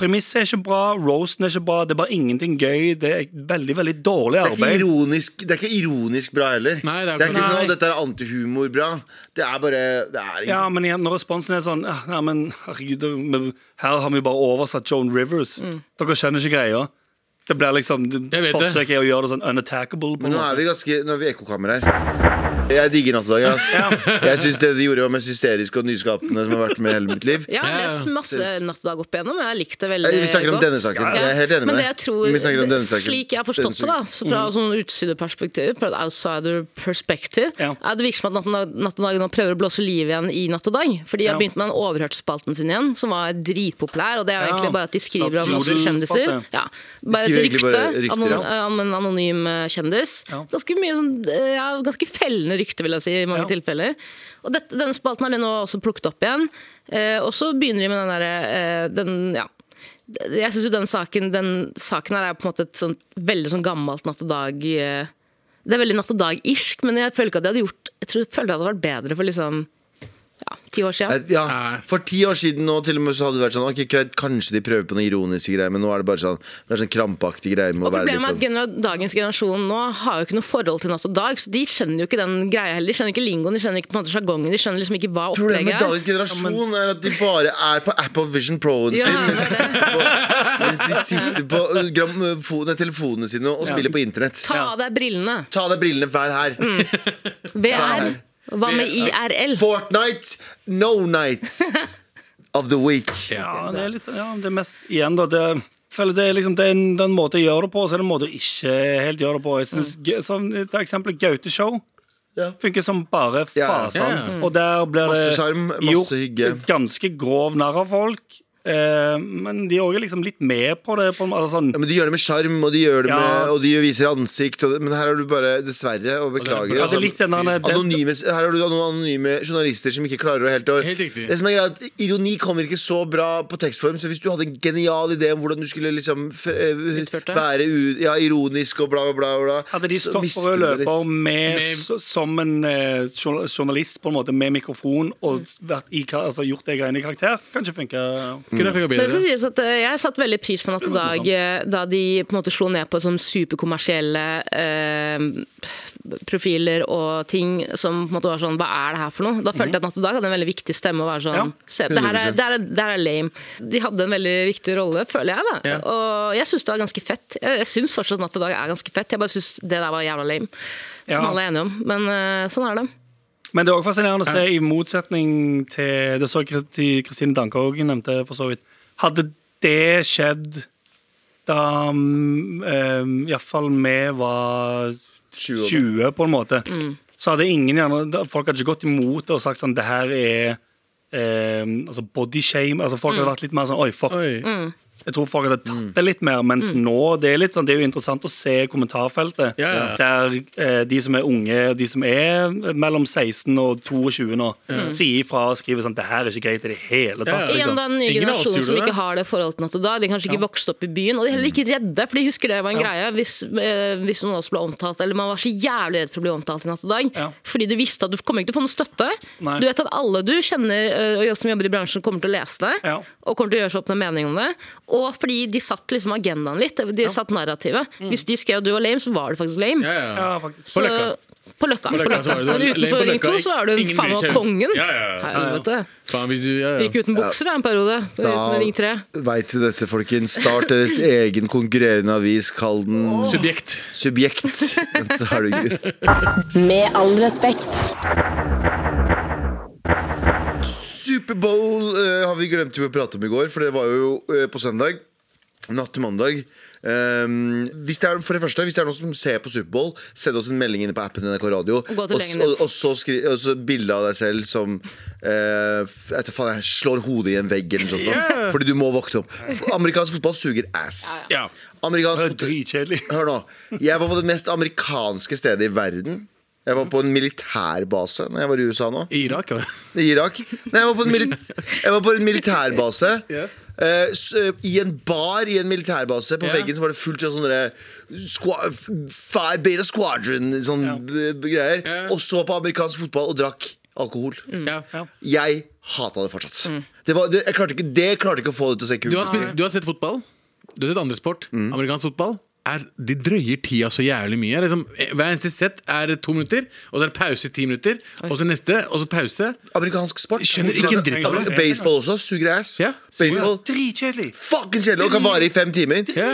F: Premisset er ikke bra, roasten er ikke bra, det er bare ingenting gøy. Det er veldig, veldig dårlig
E: Det er, ikke
F: arbeid.
E: ironisk, det er ikke ironisk bra heller.
D: Nei, det er ikke-
E: ikke sånn
D: Nei.
E: at dette er antihumor-bra. Det er bare det er ikke,
F: Ja, men igjen, når responsen er sånn «Ah, Nei, men herregud, det- vi- her har vi bare oversatt Joan Rivers. Dere skjønner ikke greia. Det blir liksom
D: Jeg vet det.
F: Forsøket er å gjøre det sånn unattackable. På
E: Men nå
F: noe.
E: er vi ganske Nå er vi ekkokammer her. Jeg digger Natt og dag. ass. Jeg syns det de gjorde, var mest hysterisk og nyskapende som har vært med hele mitt liv.
C: Jeg har
D: Ja, ja.
C: lest masse Natt og Dag opp igjennom, og jeg har likt det veldig
E: Eh, Vi snakker om
C: godt.
E: denne saken. Jeg er helt
C: men
E: enig med
C: det jeg
E: deg.
C: tror,
E: Vi snakker om denne saken.
C: Slik jeg har
E: Denne
C: forstått det, da,
E: saken.
C: så fra
F: Mm.
C: sånn utsideperspektiv, fra et outsider perspective,
F: Ja.
C: er det virker som at Natt og Dag- Natt og Dag nå prøver å blåse liv igjen i Natt og Dag. For de
F: Ja.
C: har begynt med den overhørtspalten sin igjen, som var dritpopulær. Og det er jo
F: Ja.
C: egentlig bare at de skriver om masse
F: Doodle-spalte.
C: kjendiser. Ja. Bare
E: skriver
C: et
E: egentlig
C: rykte
E: bare rykter,
C: anon
E: ja.
C: om en anonym eh, kjendis.
F: Ja.
C: Ganske mye sånn, eh, ja, ganske fellende rykte, vil jeg si, i mange
F: Ja.
C: tilfeller. Og dette, denne spalten har de nå også plukket opp igjen. Eh, og så begynner de med den derre eh, den, ja. Jeg syns jo den saken, den saken her er på en måte et sånt, veldig sånn gammelt Natt og Dag eh, Det er veldig Natt og Dag-irsk, men jeg føler ikke at de hadde gjort Jeg tror, føler det hadde vært bedre for liksom ja, ti år siden.
E: Eh, Ja, For ti år siden nå til og med så hadde det vært sånn Ok, greit, kanskje de prøver på noen ironiske greier, men nå er det bare sånn Det er sånn krampaktig greie med å
C: Og
E: være
C: problemet er at
E: litt sånn
C: genera dagens generasjon nå har jo ikke noe forhold til Natt og Dag, så de skjønner jo ikke den greia heller. De skjønner ikke lingoen, de skjønner ikke på en måte sjargongen, de skjønner liksom ikke hva
E: Problemet med
C: opplegget er.
E: dagens generasjon er at de bare er på Apple Vision Pro-en
C: Ja,
E: sin
C: det er
E: mens de sitter på- mens de sitter på uh, gramofo- nei, telefonene sine og spiller på internett.
C: Ta Mm. av deg brillene.
E: Ta av deg brillene hver her.
C: VR.
E: Nei.
C: Hva med IRL?
E: Fortnite, no night of the week.
F: Ja, det er litt sånn, ja, det er mest igjen, da. Det, jeg føler det er liksom det er en, det er en måte jeg gjør det på, og så er det en måte jeg ikke helt gjør det på. Jeg synes, Ga- sånn, et eksempel Gaute-show.
E: Ja.
F: Funker som bare fasen.
E: Ja, ja.
D: Ja,
F: Og der blir det
E: Masse sjarm, masse hygge.
F: ganske grov narr av folk. Eh, men de er også liksom litt med på det. På en, altså, sånn,
E: Ja, men de gjør det med sjarm, og de gjør det
F: Ja.
E: med Og de viser ansikt, og det, men her har du bare Dessverre, og beklager.
D: bra-
F: altså,
E: altså,
F: litt den der- den-
E: anonyme, her har du noen anonyme journalister som ikke klarer å helt å
D: Helt riktig.
E: Det som er greit, Ironi kommer ikke så bra på tekstform, så hvis du hadde en genial idé om hvordan du skulle liksom f- eh,
C: Utført det.
E: være u, ja, ironisk og bla, bla, bla, bla
F: Hadde de
E: så
F: stått på
E: mister
F: rød
E: du det litt.
F: løper med, s- som en eh, journal- journalist på en måte med mikrofon og vært i, ka- altså, gjort det greiene i karakter, kanskje funker
D: Kunne jeg fikk
C: Men det skal
D: bedre.
C: sies at eh, Jeg satt veldig pris på Natt og Dag eh, da de på en måte slo ned på sånn superkommersielle eh, profiler og ting som på en måte var sånn Hva er det her for noe? Da følte jeg at Natt og Dag hadde en veldig viktig stemme. Og var sånn,
F: Ja,
C: se, det, her er, det, her er, det her er lame. De hadde en veldig viktig rolle, føler jeg. da
D: Ja.
C: Og jeg syns det var ganske fett. Jeg, jeg syns fortsatt Natt og Dag er ganske fett. Jeg bare syns det der var jævla lame. Som
F: Ja.
C: alle er enige om. Men eh, sånn er det.
F: Men det er også fascinerende å se, i motsetning til Det så Kristi- Kristine Danke også nevnte, for så vidt. Hadde det skjedd da mm, eh, iallfall vi var
E: 20 år.
F: 20, på en måte, så hadde ingen gjerne da- Folk hadde ikke gått imot det og sagt sånn Det her er eh, altså body shame. Altså folk hadde vært litt mer sånn Oi, fuck.
D: Oi.
C: Mm.
F: Jeg tror folk hadde tatt
D: Mm.
F: det litt mer, mens nå det er, litt sånn, det er jo interessant å se kommentarfeltet.
D: Ja, ja.
F: Der eh, de som er unge, de som er mellom 16 og 22 nå, Mm. sier ifra og skriver sånn Det her er ikke greit i det hele tatt.
D: Ja, ja.
F: Liksom.
C: Igjen da, den nye
D: Ingen av oss
C: generasjonen
D: gjorde
C: som
D: det.
C: ikke har det forholdet til natt og dag. De er kanskje ikke vokste opp i byen, og de er heller ikke redde. For de husker det var en greie hvis, eh, hvis noen av oss ble omtalt, eller man var så jævlig redd for å bli omtalt i natt og dag.
F: Ja.
C: Fordi du visste at du kommer ikke til å få noe støtte.
F: Nei.
C: Du vet at alle du kjenner eh, og som jobber i bransjen, kommer til å lese det.
F: Ja.
C: Og kommer til å gjøre seg opp en mening om det. Og fordi de satt liksom agendaen litt. De satt narrativet. Hvis de skrev at du var lame, så var du faktisk lame.
D: Mm. Ja, ja.
F: Ja, faktisk.
C: Så-
D: Løkka.
C: På løkka.
D: På Løkka, så var
C: Men
D: det- Lame på
C: utenfor Ring
D: Løkka,
C: 2 så er du
D: ingen
C: faen meg
D: bryr seg.
C: kongen.
D: Ja, ja, ja.
C: Helvete.
D: Faen, hvis du ja, ja.
C: Gikk uten bukser da, en periode. Uten Ring 3.
E: veit vi dette, folkens. Start deres egen konkurrerende avis. Kall den
D: Subjekt.
E: Subjekt. Så er du
G: Med all respekt.
E: Superbowl eh, har vi glemt å prate om i går, for det var jo eh, på søndag. Natt til mandag. Ehm, hvis det er, for det første, hvis det er noen som ser på Superbowl, send oss en melding inne på appen NRK Radio. Og,
C: gå til legen
E: og,
C: din.
E: og så, skri, og så bilde av deg selv som eh, f- etter faen jeg slår hodet i en vegg eller noe sånt. Fordi du må våkne opp. For Amerikansk fotball suger ass.
D: Ja.
E: Amerikansk
F: Det er
E: fotball
F: dritkjedelig.
E: Hør nå. Jeg var på det mest amerikanske stedet i verden. Jeg var på en militærbase når jeg var i USA nå.
D: I Irak, da.
E: I Irak. Nei, jeg var på en, milit jeg var på en militærbase.
D: Ja.
E: Eh, s- eh, I en bar i en militærbase. På
D: Ja.
E: veggen så var det fullt av sånne der squa- f- Five Beta Squadron sånn b- b- greier.
D: Ja. Mm.
E: Og så på amerikansk fotball og drakk alkohol.
D: Ja.
E: Jeg hata det fortsatt. Det, var, det, jeg klarte ikke, det klarte ikke å få det til å se kult
D: Mm. Du, har
E: ut.
D: spilt, du har sett fotball. Du har sett andre sport. Amerikansk fotball. Er, de drøyer tida så jævlig mye. Det er Liksom, eh, hver eneste sett er to minutter, og så er det pause i ti minutter. Og så neste, og så pause.
E: Amerikansk sport.
D: Skjønner ikke en dritt av
E: Amerik-
D: det.
E: Baseball også. Suger ass.
D: Ja.
E: Baseball
F: Dritkjedelig.
E: fucking kjedelig og kan vare i fem timer.
D: Ja.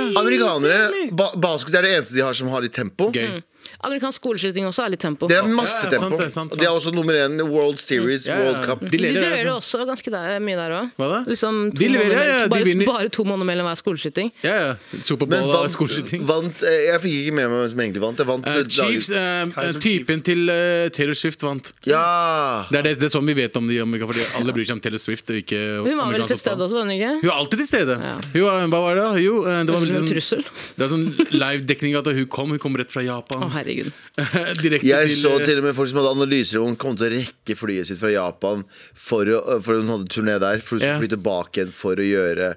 E: Amerikanere ba Basket er det eneste de har som har litt tempo.
D: Gøy.
C: Amerikansk skoleskyting også er litt tempo.
E: Det er masse
D: Ja, ja, sant
E: tempo.
D: det, sant, sant.
E: De er også nummer én i World Series,
D: Ja, ja.
E: World Cup.
D: De
C: de
D: leverer,
C: leverer
D: altså.
C: også ganske der, mye der òg.
D: Hva da?
C: Liksom to
D: De leverer,
C: måneder-
D: ja, ja, de
C: bare,
D: vinner.
C: bare to måneder mellom hver skoleskyting.
D: Ja, ja.
E: Men
D: Superbowl og
E: vant,
D: skoleskyting.
E: vant eh, Jeg fikk ikke med meg hvem som egentlig vant. Jeg vant
D: Eh,
E: eh,
D: Chiefs,
E: dagen-
D: eh,
F: Kaiser
D: typen til eh, Taylor Swift vant.
E: Ja!
D: Det er, det, det er sånn vi vet om de i Amerika, fordi alle bryr seg om Taylor Swift. Og
C: Hun
D: ikke
C: var vel
D: amerikansk
C: til stede
D: fotball.
C: også, var hun ikke?
D: Hun er alltid til stede. Hun, var- hva var det? da? Jo, eh, det
C: Det
D: var
C: var som en
D: sånn-
C: trussel.
D: Det er sånn live-dekning at hun kom. Hun kom rett fra Japan.
C: Å, herregud.
D: Direkte
E: Jeg så
D: eh,
E: til og med folk som hadde analyser om hun kom til å rekke flyet sitt fra Japan for, å, for hun hadde turné der, for hun
D: Ja.
E: skulle fly tilbake igjen for å gjøre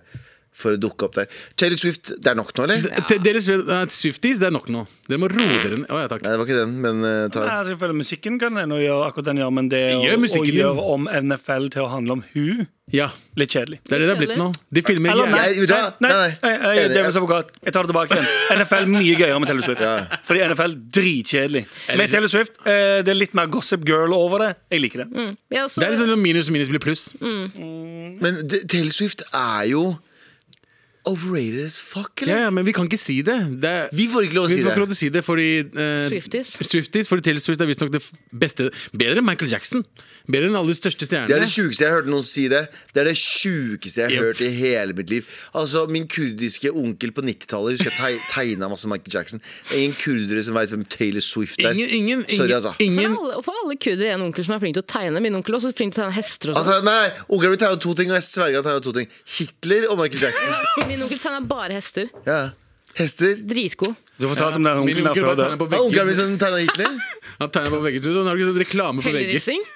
E: For å dukke opp der. Taylor Swift, det er nok nå, eller?
D: Til Deres eh, Swifties, det er nok nå. Dere må roe dere ned. Å ja, takk.
E: Nei, det var ikke den, men eh,
F: Nei,
E: Tara.
F: altså, jeg føler Musikken kan en gjøre akkurat den gjør, men det å,
D: Gjør musikken
F: å
D: din.
F: gjøre om NFL til å handle om hun,
D: Ja,
F: litt kjedelig.
D: det er det det er blitt nå. De filmer
F: Eller nei,
D: jævlig-
E: Jeg- vet du hva?
F: nei,
E: Nei, nei.
F: nei, nei, jeg er
E: Enig,
F: Djevels advokat. Jeg tar det tilbake igjen. NFL mye gøyere med Taylor Swift. Fordi NFL dritkjedelig. Med Taylor Swift eh, det er litt mer Gossip Girl over det. Jeg liker
D: Mm.
F: det.
C: Jeg også,
D: Det er litt sånn minus minus blir pluss.
C: Mm.
E: Men det- Taylor Swift er jo overrated as fuck,
D: Ja,
E: eller?
D: ja, men vi kan ikke si det. det er,
E: Vi får ikke lov å
D: vi
E: si
D: får
E: det.
D: ikke lov til å si det fordi eh,
C: Swifties.
D: Swifties, Fordi Taylor Swift er visstnok det f- beste Bedre enn Michael Jackson. Bedre enn alle de største
E: Det er
D: stjernene.
E: det sjukeste jeg har hørt noen si det. Det er det sjukeste jeg har
D: Yep.
E: hørt i hele mitt liv. Altså, Min kurdiske onkel på 90-tallet husker jeg teg- tegna masse Michael Jackson. Det er ingen kurdere som veit hvem Taylor Swift er.
D: Ingen, ingen, ingen,
E: Sorry, altså.
C: for,
D: ingen
C: alle, for alle kurdere er en onkel som er flink til å tegne. Min onkel er også flink til å tegne hester og sånn.
E: Altså, nei, Onkelen min tegna to ting, og jeg sverger han tegna to ting. Hitler og Michael Jackson.
D: Altså-
C: Min onkel tegner bare hester.
E: Ja. Hester.
C: Dritgod.
F: Du fortalte om den
D: Min
F: onkelen der
D: onkel
F: før.
D: bare
F: da.
D: tegner på
E: Ja, Onkelen min
D: vegger.
E: som tegna Hitler.
D: Han tegner på vegger. så Han har ikke sånn reklame på vegger.
C: Hellerissing.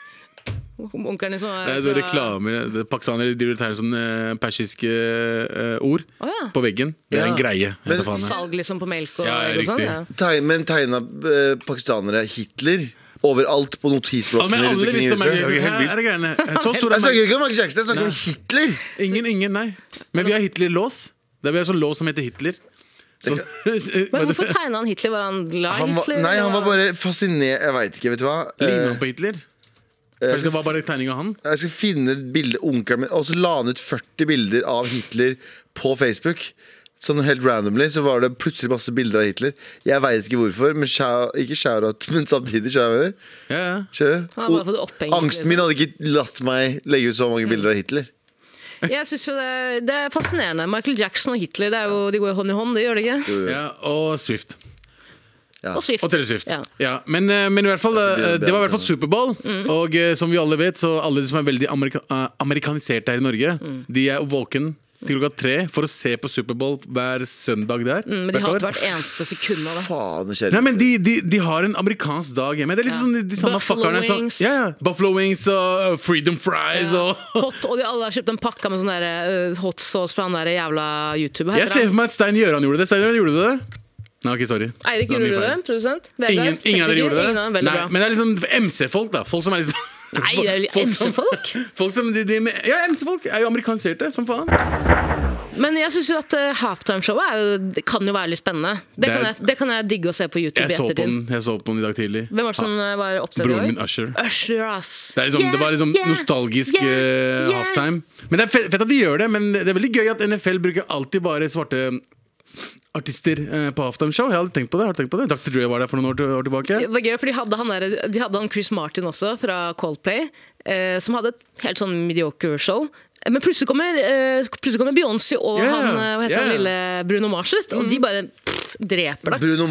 C: Onkelen din som
D: Det
C: er
D: er så reklamer det- Pakistanere driver og tegner sånne eh, persiske eh, ord
C: Å, ja.
D: på veggen. Det er
E: Ja.
D: en greie. jeg
E: Men-
D: vet faen, jeg.
C: salg liksom på melk og,
D: Ja, ja,
C: og sånn.
D: riktig.
C: Ja.
E: Teg- Men tegna eh, pakistanere Hitler. overalt på
D: Ja, men
E: notisblokkene rundt
D: alle
E: omkring i
D: visste om Michael
E: huset.
D: Jackson. Her er det greiene. Så stor
E: Jeg
D: er
E: snakker
D: Michael
E: ikke om Michael Jackson, jeg snakker om Hitler!
D: Ingen, ingen, nei. Men vi har Hitler-lås. Det er vi har sånn lås som heter Hitler. Sånn-
C: Men hvorfor tegna han Hitler? Var han glad i
E: Han var,
C: Hitler?
E: nei, han
C: eller
E: var bare fascinert Jeg veit ikke, vet du hva.
D: Ligner han
E: Eh,
D: på Hitler? Kanskje det var bare tegning av han?
E: Jeg skal finne et bilde onkelen min Og så la han ut 40 bilder av Hitler på Facebook. Sånn helt randomly så var det plutselig masse bilder av Hitler. Jeg veit ikke hvorfor, men shout, ikke shout-out, men samtidig. Shout out,
D: Ja, ja.
C: Han har bare fått opphengt,
D: liksom.
E: Angsten min hadde ikke latt meg legge ut så
D: Mm.
E: mange bilder av Hitler.
C: Jeg synes jo det, det er fascinerende. Michael Jackson og Hitler det er jo, de går jo hånd i hånd, det gjør de ikke?
D: ja og Swift.
C: Og Swift.
D: Og Taylor Swift.
C: Ja.
D: Ja. Men, eh, men i hvert fall,
E: Altså, det-
D: eh, det var i
E: det-
D: hvert fall Superbowl.
C: Mm.
D: Og eh, som vi alle vet, så alle de som er veldig amerika eh, amerikaniserte her i Norge,
C: Mm.
D: de er våken til klokka tre for å se på Superbowl hver søndag der.
C: Mm, Men de
D: hvert år.
C: hater hvert eneste sekund av det.
E: Faen, det
D: Nei,
E: skjer.
D: men de, de, de har en amerikansk dag hjemme. Det er litt
C: Ja.
D: sånn de, de samme
C: Buffalo
D: fuckerne som-
C: wings.
D: Ja, ja. Buffalo wings og uh, freedom fries og
C: Hot, og de alle har kjøpt en pakke med sånn der, eh, hot sauce fra han der jævla YouTuber.
D: Jeg ser for meg at Stein Gjøran gjorde det. Stein Gjøran, gjorde du det? Nei, ok, sorry.
C: Eirik,
D: var
C: gjorde
D: min
C: du det?
D: feil.
C: Produsent?
D: Ingen, ingen av dere gjorde det?
C: Nei,
D: Nei,
C: men...
D: men det er liksom MC-folk, da. Folk som er liksom
C: Nei, det er jo
D: Folk som-
C: MC-folk.
D: Folk som de, de, Ja, MC-folk er jo amerikaniserte som faen.
C: men jeg syns jo at eh, halftimeshowet er jo, det kan jo være litt spennende. Det,
D: Det er-
C: kan jeg, det kan jeg digge å se på YouTube
D: Jeg
C: i
D: så, på
C: ettertid.
D: den, jeg så på den i dag tidlig.
C: Hvem var det som eh, var opptatt i
D: Broren min
C: dag?
D: Usher.
C: Usher, ass.
D: Det, er liksom, det var liksom
C: Yeah, yeah,
D: nostalgisk
C: yeah,
D: eh,
C: yeah.
D: halftime. Men det er fett, fett at de gjør det, men det er veldig gøy at NFL bruker alltid bare svarte mm, artister eh, på halftimeshow. Jeg hadde tenkt på det. Har du tenkt på det? Dr. Dre var der for noen år, til- år tilbake.
C: Det var gøy, for de hadde, han der, de hadde han Chris Martin også, fra Coldplay, eh, som hadde et helt sånn mediocre show. Men plutselig kommer, eh, plutselig kommer Beyoncé og
D: Ja,
C: han, eh, hva heter han
D: ja. Mm.
C: lille Bruno Mars ut, og de bare pff, dreper det.
E: Bruno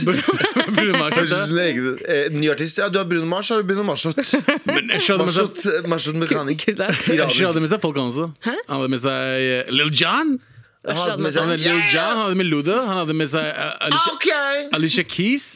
D: Bruno Mars,
E: Høres ut
D: det.
E: som en egen- eh, Ny artist. Ja, du har Bruno Mars, så har du Bruno Marsot.
D: Men jeg skjønner med seg-
E: Marsot, Marsot mekanikk.
C: Kult, kult,
E: Iraner.
D: jeg skjønner med seg folk, han også. Han hadde med seg eh, Lil Jon.
E: Han hadde med
D: Han
E: seg-
D: hadde, Lil Jon, han hadde med Luda. Han hadde med seg eh, Alicia,
E: Ok!
D: Alicia Keys.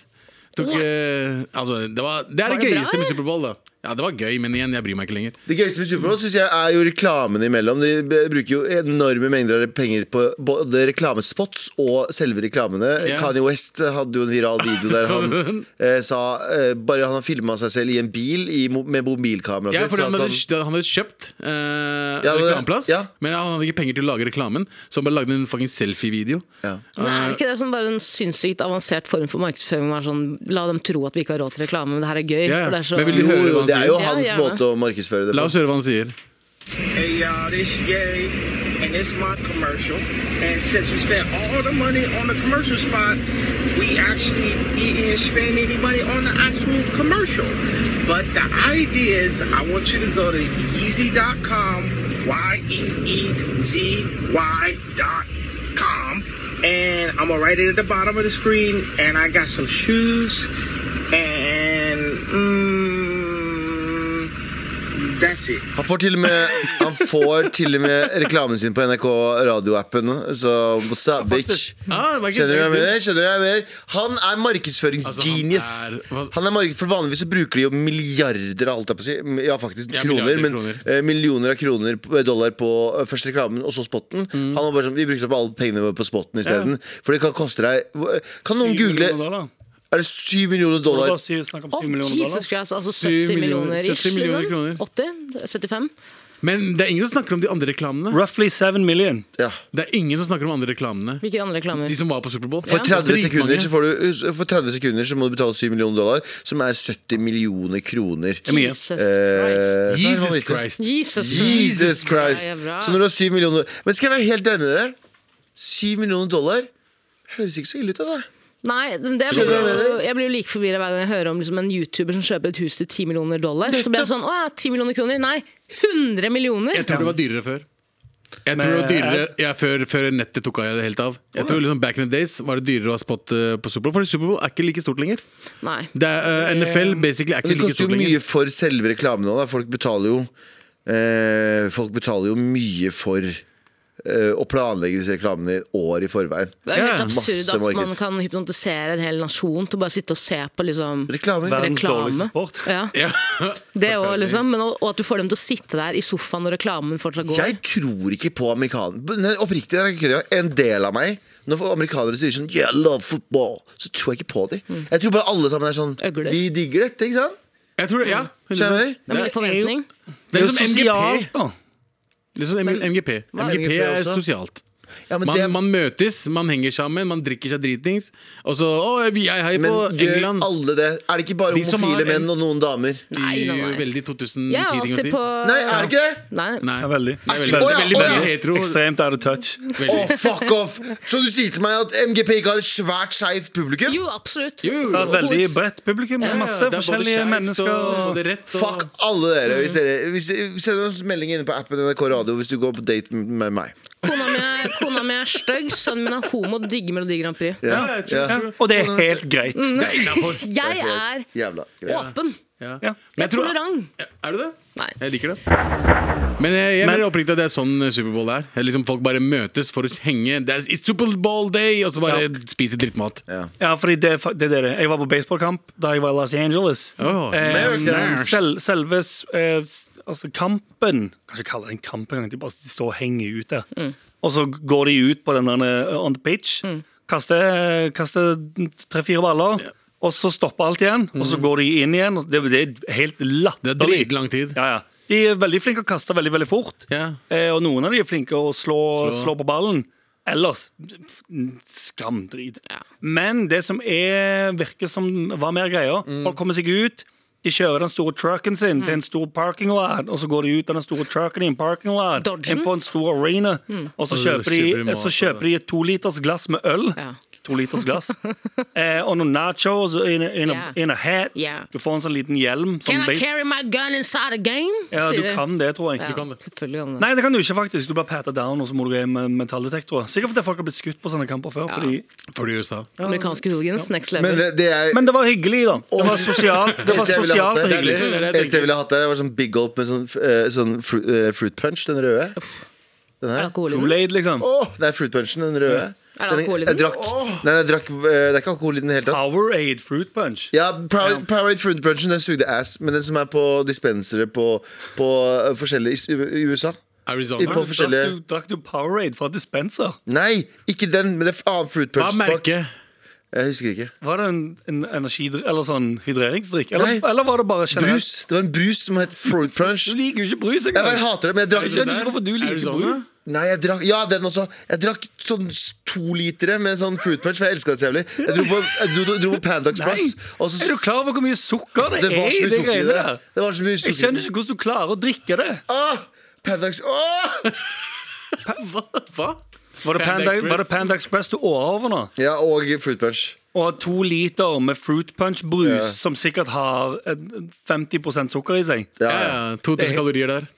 D: Tok, eh, altså, det, var, det er
C: Var det bra,
D: det, gøyeste med
C: eller?
D: Superbowl. da. Ja, Det var gøy, men igjen, jeg bryr meg ikke lenger.
E: Det gøyeste med Superbowl synes jeg er jo reklamene imellom. De b- bruker jo enorme mengder av penger på både reklamespots og selve reklamene.
D: Ja.
E: Kanye West hadde jo en viral video der
D: Så
E: han
D: du den?
E: eh, sa eh, Bare han har filma seg selv i en bil i, mo- med mobilkamera.
D: Ja,
E: sitt,
D: for
E: så
D: han
E: han
D: hadde,
E: sånn-
D: han hadde kjøpt eh,
E: Ja, det-
D: reklameplass,
E: ja.
D: men han hadde ikke penger til å lage reklamen, så han bare lagde en fucking selfie-video.
E: Ja.
C: Men er det ikke det sånn bare en sinnssykt avansert form for markedsføring? hvor det er Sånn, la dem tro at vi ikke har råd til reklame, men det her er gøy.
D: Ja,
C: for det er så...
D: men vil du
E: Jo,
D: høre
E: jo,
D: hva han
E: det er
D: sier?
E: jo
C: Ja,
E: hans
C: gjerne.
E: måte å markedsføre det
D: La
E: på.
D: oss høre hva han sier.
H: Hey y'all, this Yay, and this my commercial. And since we spent all the money on the commercial spot, we actually didn't spend any money on the actual commercial. But the idea is I want you to go to Yeezy.com, E Y-E-E-Z-Y dot com. And I'm gonna write it at the bottom of the screen. And I got some shoes. And mm, that's it.
E: Han får til og med, han får til og med reklamen sin på NRK radioappen. Så savage.
D: Ah, det var ikke
E: Skjønner du hva
D: dumt.
E: jeg mener? Skjønner du hva jeg mener? Han er markedsføringsgenius.
D: Altså, han er- hva-
E: han er marked, for vanligvis så bruker de jo milliarder av alt jeg på å si. Ja, faktisk
D: Ja,
E: kroner,
D: milliarder
E: men
D: kroner.
E: eh, millioner av kroner på- dollar på eh, først reklamen og så spotten.
D: Mm.
E: Han var bare sånn, Vi brukte opp alle pengene våre på spotten isteden. For det kan koste deg Kan noen google Er det syv millioner dollar?
F: Snakk om
C: Å,
F: 7 millioner dollar.
C: Jesus Christ, altså
D: Syv
C: 70
D: millioner-
C: millioner ish,
D: 70 millioner kroner.
C: liksom? 80? 75?
D: Men det er ingen som snakker om de andre reklamene.
F: Roughly 7 million.
E: Ja.
D: Det er ingen som snakker om andre reklamene
C: Hvilke andre reklamer?
D: De som var på Superbowl.
E: For 30,
D: Dritmange.
E: sekunder, så får du, for 30 sekunder så må du betale 7 millioner dollar, som er 70 millioner kroner.
D: mye.
C: Jesus Christ.
E: Eh,
D: Jesus Christ.
C: Jesus
E: Jesus Christ!
C: Ja, bra.
E: Så når du har 7 millioner Men skal jeg være helt enig med dere? 7 millioner dollar høres ikke så ille ut, altså.
C: Nei, men det blir
E: Skjønner du hva jeg
C: jo,
E: mener?
C: jeg blir jo like forvirra hver gang jeg hører om liksom, en YouTuber som kjøper et hus til 10 millioner dollar. Så blir jeg sånn, å ja, 10 millioner kroner? Nei, 100 millioner!
D: Jeg tror det var dyrere før. Jeg tror det var
F: Men-
D: dyrere ja, før, før nettet tok av helt av. Jeg tror liksom Back in the days var det dyrere å ha spot eh, på Superbowl, for Superbowl er ikke like stort lenger.
C: Nei.
D: Det er, eh, NFL basically er
E: Men
D: ikke
E: det
D: like
E: koster
D: stort
E: jo
D: lenger.
E: mye for selve reklamen òg. Folk betaler jo eh, Folk betaler jo mye for eh, eh, og planlegge disse reklamene i år i forveien.
C: Det er jo
D: Ja,
C: helt absurd
E: masse
C: at man
E: markeds-
C: kan hypnotisere en hel nasjon til å bare sitte og se på liksom
E: Reklamer.
F: Verdens
C: reklame.
F: dårligste sport.
C: Ja,
D: Ja.
C: det også, liksom. Men, og, og at du får dem til å sitte der i sofaen når reklamen fortsatt går.
E: Jeg tror ikke på amerikanere. Oppriktig, det er ikke kødd engang. en del av meg Når amerikanere sier sånn Yeah, I love football, så tror jeg ikke på dem. Jeg tror bare alle sammen er sånn
C: Øgler.
E: Vi digger dette, ikke sant?
D: Jeg tror det, ja.
E: Skjønner?
C: Det er litt forventning.
D: Det
F: Det
D: er liksom
F: er
D: som
F: jo
D: MGP.
F: sosialt, da.
D: Det er liksom som MGP. MGP
E: MGP
D: er
E: også?
D: sosialt.
E: Ja, men
D: Man,
E: det,
D: man møtes, man henger sammen, man drikker seg dritings. Og så Å, vi er her på
E: men gjør
D: England.
E: alle det? Er det ikke bare
D: De som har
E: homofile
D: en-
E: menn og noen damer?
C: Nei, nei, nei.
D: Veldig 2010
C: Jeg er
D: ting å si.
C: alltid på
E: Nei, er det ikke det?
C: Nei.
D: Nei.
F: Ja, veldig.
D: Det er veldig,
E: Å, ja,
D: veldig,
E: å,
D: veldig
E: ja.
D: hetero.
F: Ekstremt out of touch.
E: Å,
D: Veldig.
E: fuck off! Så du sier til meg at MGP ikke har et svært skeivt publikum?
C: Jo, absolutt.
F: Det er et veldig
C: Hods.
F: bredt publikum. med
D: Det
F: Masse
D: er både
F: forskjellige
D: skeivt
F: mennesker.
D: og både rett og
E: Fuck alle dere. Hvis dere hvis, send oss melding inne på appen NRK Radio hvis du går på date med meg.
C: Kona mi er, kona mi er stygg, sønnen min er homo, digger Melodi Grand Prix.
E: Ja,
F: Ja, og det er helt greit.
D: Mm.
C: Jeg er
E: Jævla greit.
C: åpen.
D: Ja.
F: Ja.
D: Men
C: Jeg
D: jeg
C: er
D: tror-
C: tolerant.
D: Er du det?
C: Nei.
D: Jeg liker det. Men jeg, jeg
F: Men-
D: mener oppriktig at det er sånn Superbowl er. Det er Liksom folk bare møtes for å henge. Det er it's Superbowl day! Og så bare
F: Ja.
D: spise drittmat.
E: Ja.
F: Ja, fordi det, er fa- det er det det. er. Jeg var på baseballkamp da jeg var i Los Angeles.
D: Åh,
F: Eh,
D: America.
F: sel, selve s- eh, s- altså kampen Kan ikke kalle det en kamp engang. De bare de står og henger ut der. Og så går de ut på den der eh, on the pitch, kaster, kaster tre-fire baller. Og så stopper alt igjen, og så går de inn igjen. og Det, det er helt
D: Det er
F: latterlig.
D: dritlang tid.
F: Ja, ja. De er veldig flinke å kaste veldig veldig fort.
D: Ja.
F: Eh, og noen av de er flinke å
D: Slå.
F: slå, slå på ballen. Ellers f- skamdrit. Men det som er, virker som var mer greia
C: Mm.
F: Folk kommer seg ut. De kjører den store trucken sin til en stor parking lot, og så går de ut av den store trucken i en parking lot,
C: Dodgen? Mm.
F: inn på en stor arena, og
D: Og
F: så
D: så
F: kjøper,
D: kjøper de
F: de,
D: mat,
F: så kjøper de et to liters glass med øl.
C: Ja.
F: To liters glass. eh, og noen nachos in a, in a,
C: Yeah.
F: in a hat.
C: Yeah.
F: Du får en sånn liten hjelm.
C: Can
F: sånn
C: I
F: base-
C: carry my gun inside a game?
F: ja,
C: sier
F: du
C: de.
F: kan det, tror jeg.
C: Ja, Selvfølgelig kan det.
F: Nei, det kan du ikke, faktisk. Du blir pata down, og så må du gå hjem med metalldetektorer. Sikkert fordi folk har blitt skutt på sånne kamper før. Fordi...
D: For i USA.
C: Amerikanske hooligans, next level.
E: Men det, det jeg
F: Men det var hyggelig, da. Det var sosialt, det var
E: Eneste jeg ville hatt
F: sosialt og
E: der-
F: hyggelig.
D: Det er det jeg
E: Eneste jeg
D: tenker.
E: ville hatt der, var sånn big gulp med sånn, eh, sånn fru, eh, fruit punch, den røde. Den her.
C: Alkohol i den.
F: Kool-Aid, liksom.
E: Åh, det er fruit punchen, den røde.
C: Er det alkohol i
E: jeg
C: den?
E: drakk, nei, jeg drakk, eh, det er ikke alkohol i den i det hele tatt.
F: Powerade fruit punch.
E: Ja, Power- Powerade fruit punchen, den sugde ass, men den som er på dispensere på, på eh, forskjellige i i USA. I
D: Arizona.
E: på forskjellige
F: Drakk du, drakk du Powerade fra dispenser?
E: Nei, ikke den, men det er annen fruit
D: Hva
E: punch.
D: er merket?
E: Jeg husker ikke.
F: Var det en, en energidrikk eller sånn hydreringsdrikk? Eller,
E: Nei.
F: eller var det bare generelt?
E: Brus. Det var en brus som het fruit punch.
F: Du liker jo ikke brus
E: Jeg bare
F: engang.
E: hater det, men jeg drakk
F: Jeg skjønner ikke hvorfor du liker
E: sånn,
D: Arizona?
F: brus.
E: Nei, jeg drakk Ja, den også. Jeg drakk sånn s- to litere med sånn fruit punch, for jeg elska det så jævlig. Jeg dro på, jeg dro, dro på Pandox
F: Nei!
E: Plus. Og så,
F: Er du klar over hvor mye sukker det,
E: det var
F: er
E: så
F: i
E: mye
F: det
E: sukker i
F: greiene
E: det.
F: der?
E: Det var så mye
F: Jeg
E: sukker
F: skjønner ikke hvordan du klarer å drikke det.
E: ah, Pandox ah!
D: Hva?
F: Var det
D: Panda
F: Panda,
D: Express?
F: var det Panda Express du åa over nå?
E: Ja, og fruit punch.
F: Og har to liter med fruit punch-brus
E: Ja.
F: som sikkert har eh, 50 sukker i seg.
E: Ja,
D: Ja,
E: ja.
D: ja. 2000 kalorier der.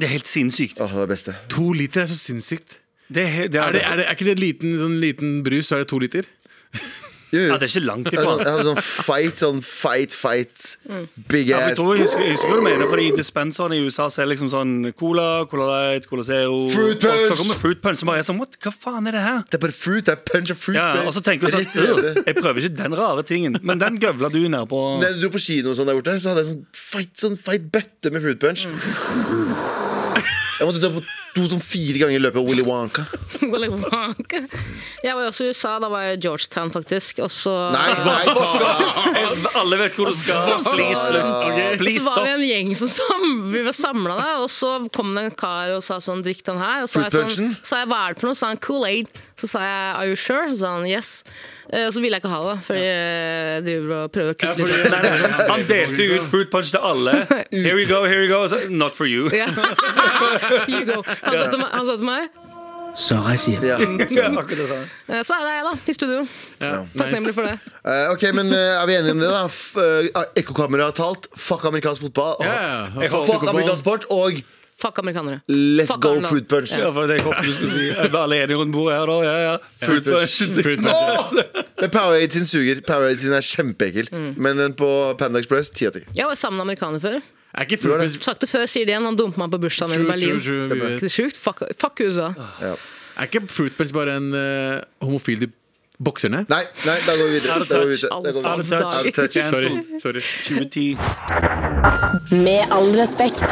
F: Det er helt sinnssykt.
E: Åh, det var det beste.
D: To liter er så sinnssykt.
F: Det er, he- det
D: Er,
F: er,
D: det, er, det, er ikke det liten, sånn liten brus, så er det to liter?
E: Jo, jo.
F: ja, det er ikke langt
E: Jeg
F: ifra. Mm.
E: hadde sånn- jeg hadde sånn fight, sånn fight, fight. Big
F: Ja, for jeg
E: ass.
F: tror jeg husker, jeg husker hva du mener, fordi dispenserne i USA ser liksom sånn Cola, Cola Light, Cola Zero
E: Fruit
F: Og så
E: punch!
F: kommer Fruit Punch, som bare er sånn What? Hva faen er det her?
E: Det er bare fruit. Det er punch og fruit.
F: Ja,
E: babe.
F: og så tenker du sånn
E: Rett i øyet.
F: «Ugh, Jeg prøver ikke den rare tingen, men den gøvla du nedpå.
E: Da jeg dro på kino og sånn der borte, så hadde jeg sånn feit, sånn feit bøtte med fruit punch. Jeg måtte ta på to sånn fire ganger i løpet av Willy Wonka.
C: Willy Wonka. Jeg var jo også i USA, da var jeg i Georgetown faktisk. Og så,
E: Nei, nei, ta
F: Alle vet hvor du skal. Please, slutt. ok?
C: og så
F: Please,
C: var
F: stopp.
C: vi en gjeng som sam, vi var samla der, og så kom det en kar og sa sånn 'drikk den her'. Og så sa jeg sånn,
E: Fruitpunchen?
C: sa jeg 'hva er det for noe?' Så sa han 'Kool-Aid'. Så sa jeg 'Are you sure?' Så sa han 'Yes'. Eh, Og så ville jeg ikke ha det, fordi jeg driver og prøver å kutte litt.
F: Nei, nei, nei. Han delte ut fruit punch til alle. Here you go, here you go. Og så, Not for you.
C: Ja. you go. Han sa til meg, han sa til meg
E: ja. Eh,
F: Ja, akkurat det sa han.
C: eh, Så er det jeg, da, i studio.
D: Ja,
C: Takknemlig for det.
E: Eh, ok, men eh, er vi enige om det, da? F- eh, Ekkokamera har talt. Fuck amerikansk fotball.
D: Ja, ja.
E: Og Fuck amerikansk sport. Og
C: Fuck amerikanere.
E: let's
C: Fuck
E: go
C: Arendal.
E: fruit punch.
F: Ja, for det jeg håpet du skulle si. Er vi alle enige rundt bordet her, da? Ja, ja. Fruit punch.
D: Fruit punch, ja.
E: Men Powerade
F: Mm.
E: sin suger. Powerade sin er kjempeekkel. Men den på Panda Express, ti av ti.
C: Jeg var sammen med en amerikaner før.
D: Er ikke fullt med,
C: Sagt det før, sier det igjen. Han dumpet meg på bursdagen min i
D: True,
C: Berlin.
D: true, true, vi
C: Er ikke
D: vet.
C: det sjukt? Fuck, fuck USA.
E: Ah.
D: er ikke Fruit Punch bare en eh, homofil de bokser ned?
E: Nei, nei, da går vi videre. Da går vi videre. Da går vi
F: Out of
E: videre.
F: touch.
E: Out of touch.
D: Sorry. sorry
F: 2010.
G: Med all respekt.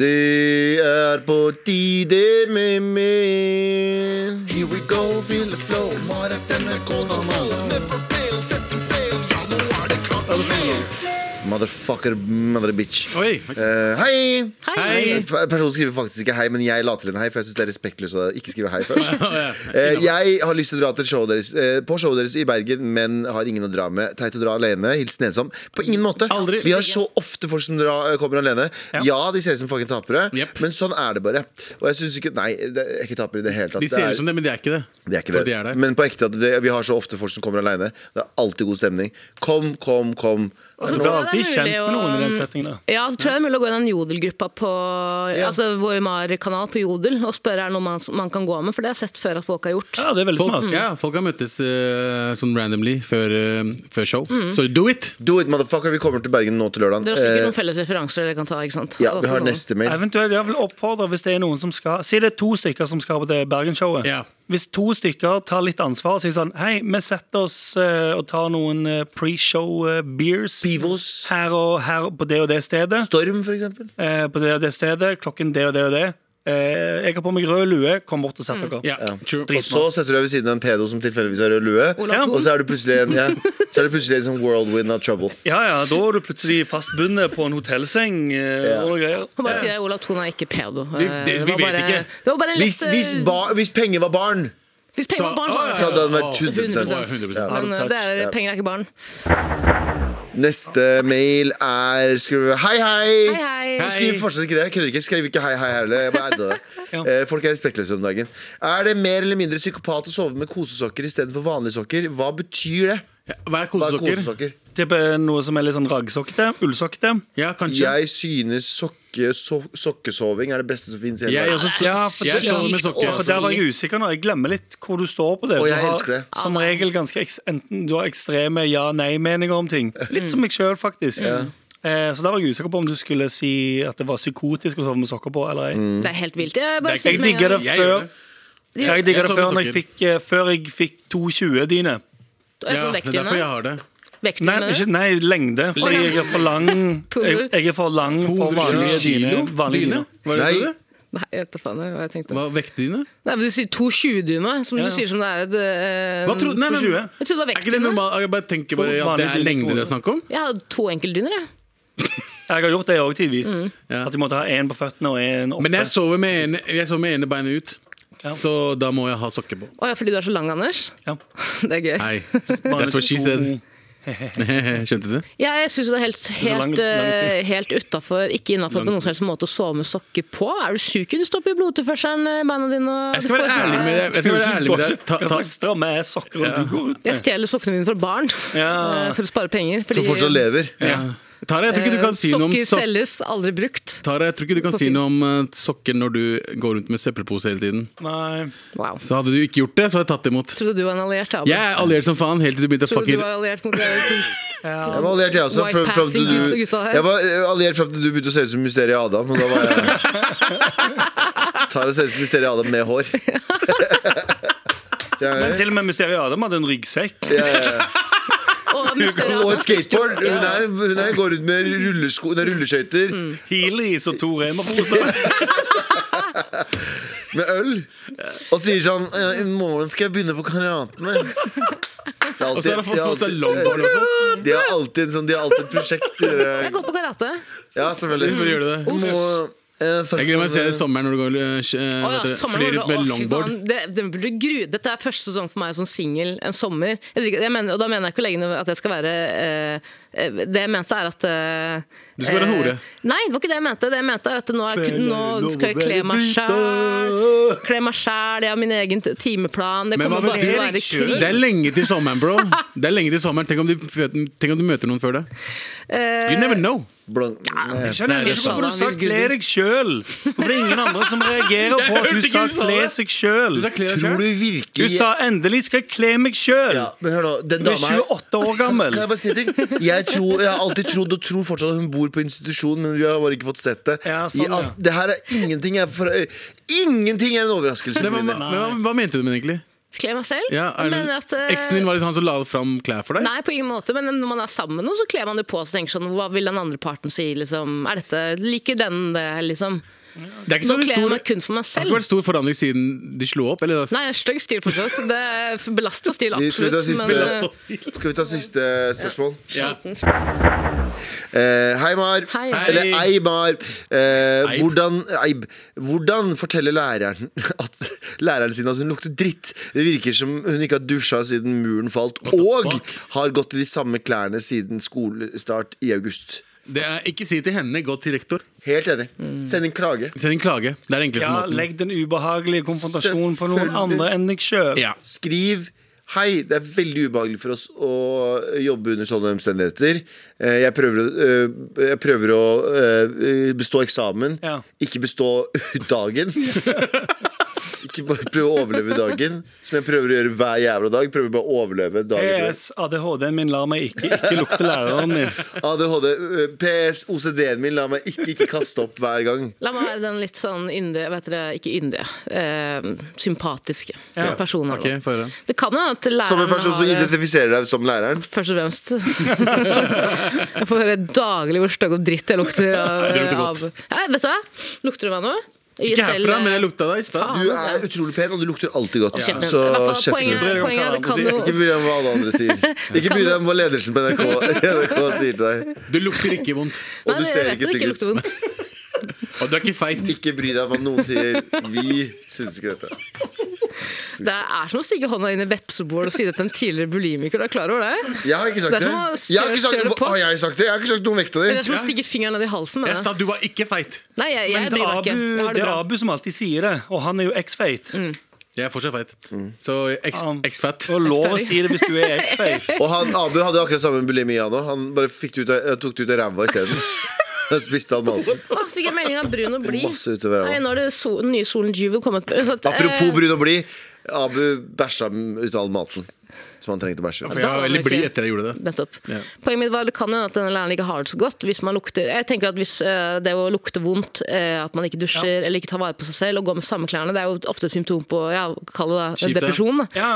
E: Det er på tide med mer. Here we go, feel the flow. Marit NRK normal. Never fail, setting sail. Ja, nå er det klart for mer. Motherfucker, mother bitch.
D: Oi!
E: Eh, hei!
D: Hei!
E: Eh, Personen skriver faktisk ikke hei, men jeg la til en hei, for jeg syns det er respektløst å ikke skrive hei først.
D: ja.
E: Eh, jeg har lyst til å dra til showet deres, eh, på showet deres i Bergen, men har ingen å dra med. Teit å dra alene. Hilsen ensom. På ingen måte.
D: Aldri.
E: Vi har så ofte folk som dra, kommer alene. Ja,
F: Ja.
E: de ser ut som fucking tapere,
D: Jepp.
E: men sånn er det bare. Og jeg syns ikke Nei, det er ikke tapere i det hele tatt.
D: De
E: Det
D: ser
E: er-
D: ut som det, men det er ikke det.
E: det er ikke
D: For
E: det.
D: de er der.
E: Men på ekte at vi, vi har så ofte folk som kommer aleine. Det er alltid god stemning. Kom, kom, kom.
C: så tror
F: Du blir
C: jeg
F: alltid
C: det er
F: kjent
C: mulig
F: med noen i den
C: å-
F: settingen. da.
C: Ja, så tror jeg det er mulig å gå i den Jodel-gruppa på Altså vår MAR-kanal på Jodel og spørre er det noe man, man kan gå med, for det har jeg sett før at folk har gjort.
F: Ja, det er veldig
D: Folk,
F: smart.
D: ja, folk har møttes eh, sånn randomly før, eh, før show.
C: Mm.
D: Så do it!
E: Do it, motherfucker. Vi kommer til Bergen nå til lørdag. Eh,
C: Dere har sikkert noen felles referanser dere kan ta, ikke sant?
E: ja,
C: Hva
E: vi har
C: for noe?
E: neste mail.
F: Eventuelt, jeg vil oppfordre hvis det er noen som skal Si det er to stykker som skal på det Bergenshowet.
D: Ja.
F: Hvis to stykker tar litt ansvar og sier sånn Hei, vi setter oss eh, og tar noen eh, pre-show eh, beers
E: Pivos.
F: her og her på det og det stedet.
E: Storm, for eksempel.
F: eh, på det og det stedet, klokken det og det og det. Eh, jeg har på meg rød lue, kom bort og sett dere.
D: Mm. Ja, true.
E: Og så setter du deg ved siden av en pedo som tilfeldigvis har rød lue.
C: Olav
E: Og så er du plutselig en, ja, så er du plutselig en sånn whirlwind of trouble.
F: Ja, ja, da er du plutselig fastbundet på en hotellseng. Eh,
E: Ja.
F: og noe greier.
C: Må bare si det, Olav Thon er ikke pedo.
D: Vi-
C: Eh,
D: det- vi
C: var
D: vet
C: bare,
D: ikke.
C: Det var bare en lett,
E: Hvis, hvis,
C: eh,
E: ba, hvis penger var barn,
C: hvis penger var barn, så var
E: så
C: det
E: hadde han vært
C: 100%.
E: 100 ja.
C: Men eh, det er, penger er ikke barn.
E: Neste mail er Skriver hei, hei!
C: Hei, hei.
E: Jeg Skriver fortsatt ikke det. Jeg kødder ikke. Jeg skrev ikke hei, hei heller. Jeg bare eide det. Eh, Folk er respektløse om dagen. Er det mer eller mindre psykopat å sove med kosesokker istedenfor vanlige sokker? Hva betyr det?
D: Ja, Hva er
E: Hva er
D: kosesokker?
E: kosesokker?
F: Det er noe som er litt sånn raggsokkete, ullsokkete.
D: Ja, kanskje.
E: Jeg synes sokke, so, sokkesoving er det beste som fins i hele
D: Jeg,
E: verden.
D: også,
C: Ja, for
D: jeg
C: det-
D: sover med sokker. altså.
F: For der var jeg usikker nå. Jeg glemmer litt hvor du står på det.
E: Og jeg
F: Du har
E: elsker det.
F: Som regel ganske eks enten du har ekstreme ja-nei-meninger om ting.
E: Mm.
F: Litt som meg sjøl, faktisk. Eh, så der var jeg usikker på om du skulle si at det var psykotisk å sove med sokker på eller ei.
E: Mm.
C: Det er helt vilt. Jeg bare
D: Det er-
C: sier
F: Jeg
C: med en
F: digger det
C: gang.
D: Jeg gjør
F: før
D: det.
F: Jeg
D: Jeg
F: digger det
D: sover
F: før,
D: med
F: når jeg
D: sokker.
F: fikk, eh, før jeg fikk 2,20-dyne.
C: Er det
D: Ja,
C: sånn
D: det er derfor jeg
C: vektdyne?
D: har det.
F: Nei,
C: Vektdyne?
F: ikke, nei, lengde. Fordi jeg er for lang jeg, jeg er for lang for
D: 200
F: vanlige dyne.
D: kilo?
F: Vanlige
D: Dyne?
F: dyne.
D: Hva er det du
E: Nei.
D: det?
C: Nei, jeg vet da faen jeg, hva jeg tenkte.
D: Hva vektdyne?
C: Nei, men Du sier 220-dyne, som
F: Ja,
C: du
F: ja.
C: sier som det er et eh,
D: Hva trodde Nei, men
F: 220.
C: Jeg trodde det var
D: Er ikke det
C: vektdyne.
D: normalt? Jeg bare tenker bare at det er lengde det er snakk om.
C: Jeg har to enkeltdyner, jeg.
F: Jeg har gjort det òg tidvis.
D: Ja.
F: At jeg måtte ha én på føttene og én oppe.
D: Men jeg sover med ene, jeg sover med ene beinet ut, så da må jeg ha sokker på.
C: Å ja, fordi du er så lang, Anders?
F: Ja.
C: Det er gøy.
D: Nei, that's what she said. Skjønte du?
C: Ja, jeg syns det er helt,
F: er lang-
C: helt,
F: lang
C: eh, helt utafor, ikke innafor på noen som helst måte å sove med sokker på. Er du sjuk? Du stopper jo blodtilførselen i beina dine. og
D: Jeg
C: du
D: skal være
C: får- sånn-
D: ærlig med deg. Jeg skal være ærlig med deg. Ta,
F: Hva
D: ta.
F: slags stramme er sokker du går ut
C: Jeg stjeler sokkene mine fra barn
F: Ja.
C: eh, for å spare penger. Fordi
E: Som fortsatt lever.
D: Ja. Tara, jeg tror ikke du
C: eh,
D: kan si noe om
C: sokker
D: sok-
C: selges, aldri brukt.
D: Tara, jeg tror ikke du kan
C: På
D: si
C: film.
D: noe om eh, sokker når du går rundt med søppelpose hele tiden.
F: Nei.
C: Wow.
D: Så hadde du ikke gjort det, så hadde jeg tatt det imot.
C: Trodde du var en alliert, Abel.
D: Jeg er alliert som faen helt til du begynte å
C: Trodde du
D: fucking
C: var alliert mot eh,
E: Jeg var alliert, jeg også.
C: White
E: Fra, fram til
C: passing,
E: du,
C: gutta- gutta her.
E: jeg var eh, alliert fram til du begynte å se ut som Mysteriet Adam. Og da var jeg Tara ser ut som Mysteriet Adam med hår.
F: Men til og med Mysteriet Adam hadde en ryggsekk.
C: Og Mysteriet Adam.
E: Og et skateboard. Hun, er, hun er, går rundt med rullesko, nei, rulleskøyter,
C: Mm.
F: Heelys og to Rema-poser.
E: med øl, og sier sånn «Eh, I morgen skal jeg begynne på karatene. Det er
D: Og så har han
E: alltid,
D: fått
E: de,
D: på
E: har
D: seg
E: alltid,
D: longboard også.
E: de har alltid en sånn De har alltid et prosjekt. de der-
C: Jeg går på karate.
E: Ja,
D: Hvorfor
E: selvfølgelig.
D: gjør du det?
E: Må- eh,
D: Jeg gleder meg å se det i
E: sånn-
D: sommeren når du går eh, sj- eh,
C: Å ja,
D: vet du,
C: sommeren
D: flyr
C: var
D: ut
C: bra.
D: med
C: Å, fy
D: longboard.
C: faen, Det, det blir gru. Dette er første sesong for meg som singel, en sommer. Jeg, tror ikke- jeg mener, og da mener jeg ikke å legge ned at jeg skal være eh, eh, Det jeg mente, er at eh,
D: Du skal være
C: eh,
D: hore.
C: Nei, det var ikke det jeg mente. Det jeg mente er at nå, er, kun- nå skal jeg kle meg sjæl. Kle meg sjæl, jeg har min egen t- timeplan. Det
D: Men
C: kommer
D: hva
C: bare
D: med
C: til å
D: Erik
C: være
D: Kjøl? Det er
C: krise.
D: lenge til sommeren, bro. Det er lenge til sommeren Tenk om du, tenk om du møter noen før det.
C: Eh,
D: You never know.
E: Blond- eh, Nei.
F: Skjønner
D: Nei,
F: jeg
D: det
F: ikke
D: er
F: hvorfor du
C: sant.
F: sa
C: Hvis
F: 'kle
C: Gud-
F: deg sjøl'. Hvorfor det er ingen andre som reagerer
D: Jeg
F: på at
D: hørte
F: du
D: ikke
F: sa
D: du sa
F: 'kle
D: det.
F: seg
D: Du
F: sjøl'.
D: skal kle deg
E: Tror
D: selv.
E: du
F: Du
E: virkelig
F: sa 'endelig skal jeg kle meg sjøl'.
E: ja, Men hør nå, den
F: Du er
E: dama her
F: 28 år
E: Kan
F: gammel.
E: jeg bare si en ting? Jeg jeg, tror, jeg har alltid trodd og tror fortsatt at hun bor på institusjon, men vi har bare ikke fått sett det.
F: Ja, sånn,
E: I alt-
F: ja.
E: Det her er ingenting jeg for, Ingenting er en overraskelse.
D: Men,
E: for
D: hva-
E: min del.
D: men, hva- hva mente du med det egentlig?
C: Kle meg selv.
D: Ja, er det,
C: men at, eh,
D: eksen din var liksom han som la fram klær for deg?
C: Nei, på ingen måte, men når man er sammen med noen, så kler man det på og tenker sånn Hva vil den andre parten si, liksom? Er dette Liker den det, liksom?
D: det er ikke
C: Nå
D: så veldig
C: kler jeg
D: stor,
C: meg kun for meg
D: det har
C: selv.
D: ikke vært stor forandring siden de slo opp? Eller?
C: Nei, jeg er stygg stil fortsatt. Det belaster stil,
E: Vi- Skal vi, ta
C: absolutt.
E: siste,
C: Men, eh,
E: skal vi ta siste spørsmål?
D: Ja.
E: Eh, hei, Mar.
C: Hei.
E: Eller ei, Mar. Eh,
D: Eib.
E: hvordan, Eib. hvordan forteller læreren, at, læreren sin at hun lukter dritt? Det virker som hun ikke har dusja siden muren falt, og har gått i de samme klærne siden skolestart i august.
D: Det er, ikke si til henne, gå til rektor.
E: Helt enig. Send en klage.
D: Send en klage. Det er den enkleste
F: Ja,
D: måten.
F: Legg den ubehagelige konfrontasjonen på noen
E: Selvfølgelig.
F: andre enn deg sjøl.
D: Ja.
E: Skriv Hei, det er veldig ubehagelig for oss å eh, jobbe under sånne omstendigheter. Eh, Jeg prøver å, eh, jeg prøver å eh, bestå eksamen,
F: Ja.
E: ikke bestå dagen. ikke bare prøve å overleve dagen, som jeg prøver å gjøre hver jævla dag. Prøver bare å overleve dagen. etter.
F: PS, ADHD-en min lar meg ikke ikke lukte læreren min.
E: ADHD, eh, PS, OCD-en min, la meg ikke, ikke kaste opp hver gang.
C: la meg være den litt sånn yndige, vet dere, ikke yndige, eh, sympatiske personen.
D: Ok, få høre.
C: Det kan jo at læreren
E: Som en person som
C: har det-
E: identifiserer deg som læreren.
C: Først og fremst. jeg får høre daglig hvor stygg og dritt jeg lukter av, eh,
D: Det lukter
C: av
D: godt.
C: ja, Vet du hva? Lukter du meg nå? Jeg
D: Ikke
C: selv- eh,
D: herfra, men jeg lukta deg i stad.
E: Du er utrolig pen, og du lukter alltid godt.
C: Kjeft ned.
E: Så
C: I hvert fall,
E: kjeft ned.
C: Poenget er- poenget er det kan jo
E: Ikke bry deg om hva alle andre sier. Ikke bry deg om hva ledelsen på NRK, NRK sier til deg.
D: Du lukter ikke vondt.
E: Og du
C: Nei,
E: ser
C: jeg vet det
E: ikke stygg
C: lukter
E: ut.
C: vondt.
D: Og du er ikke feit.
E: Ikke bry deg om hva noen sier. Vi syns ikke dette.
C: Det er som å stikke hånda inn i vepsebol og si det til en tidligere bulimiker. Du er klar over det?
E: Jeg har ikke sagt
C: Det er
E: det.
C: som å
E: Jeg har ikke
C: stjele
E: sagt,
C: på.
E: har jeg sagt det? Jeg har ikke sagt noe om vekta
C: Det
E: di.
C: er som å stikke fingeren ned i halsen.
D: Jeg
C: Med
D: sa
C: det.
D: du var ikke feit.
C: Nei, jeg,
F: Men
C: jeg
F: det
C: bryr meg
F: er
C: ikke. Jeg
F: Abu,
C: har
F: det
C: det
F: er
C: bra. Mm.
F: Abu som alltid sier det, og han er jo X-feit.
D: Jeg er fortsatt feit. Så ex-
F: Um,
D: X-fat.
F: Og lov å si det hvis du er X-feit.
E: Og han, Abu hadde akkurat samme bulimi han òg. Han bare fikk det ut av, tok det ut av ræva isteden. Da spiste han maten.
C: Å, fikk jeg melding av Brun og Blid.
E: Masse utover
C: Nei,
E: ræva.
C: Nå har det sol, den nye solen Juvel kommet Så at,
E: Apropos
C: eh,
E: brun og blid. Abu bæsja ut all maten som han trengte å bæsje ut.
D: Jeg var veldig blid etter jeg gjorde det.
C: Nettopp. Poenget mitt var det kan jo at denne læreren ikke har det så godt hvis man lukter Jeg tenker at hvis eh, det å lukte vondt, eh, at man ikke dusjer eller ikke tar vare på seg selv og går med samme klærne, det er jo ofte et symptom på ja, kall det
D: Kjipt,
C: det,
D: ja.
C: depresjon. da.
F: Ja.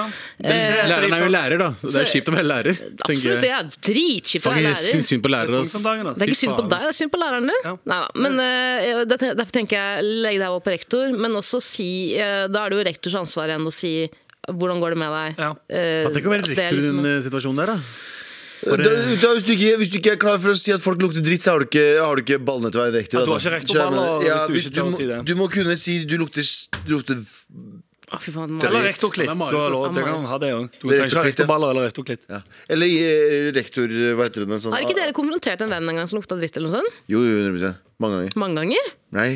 D: Læreren er jo lærer, da. Det er kjipt å være lærer.
C: Absolutt, det er dritkjipt å
D: Fucking
C: være
D: syns
C: lærer.
D: synd på lærere. ass.
F: Punkt om dagen,
C: Det er
F: altså.
C: ikke synd på
D: faen,
C: deg, det er synd på læreren din.
F: Ja.
C: Neida, Men eh, det- Derfor tenker jeg legg deg over på rektor, men også si eh, Da er det jo rektors ansvar igjen å si hvordan går det med deg?
F: Ja.
C: Eh,
D: Tenk å være
C: at det er
D: rektor i
C: liksom-
D: den eh, situasjonen der, da.
E: Da, da, hvis, du ikke, hvis du ikke er klar for å si at folk lukter dritt, så har du ikke, har du ikke ballene til å være rektor.
F: Ja, du har
E: altså.
F: ikke
E: Skjønner du?
F: rektorballer
E: Ja,
F: hvis du
E: hvis
F: ikke
E: du,
F: tør å
E: må-
F: si det.
E: du må kunne si du lukter, du lukter f-
C: Å, fy faen,
F: Eller
C: Mari.
F: rektorklitt.
D: Han er
F: Du
D: Marit,
F: har lov
C: ass.
F: til å ha det òg.
E: Det
F: Du
E: er
F: trenger ikke ha
E: rektorklitt, ja.
F: rektorballer eller rektorklitt.
E: ja. Eller eh, rektor, hva heter det? Sånn,
C: Har ikke dere konfrontert en venn en gang som lukta dritt? eller noe sånt?
E: Jo, jo, 100 Mange ganger.
C: Mange ganger?
E: Nei.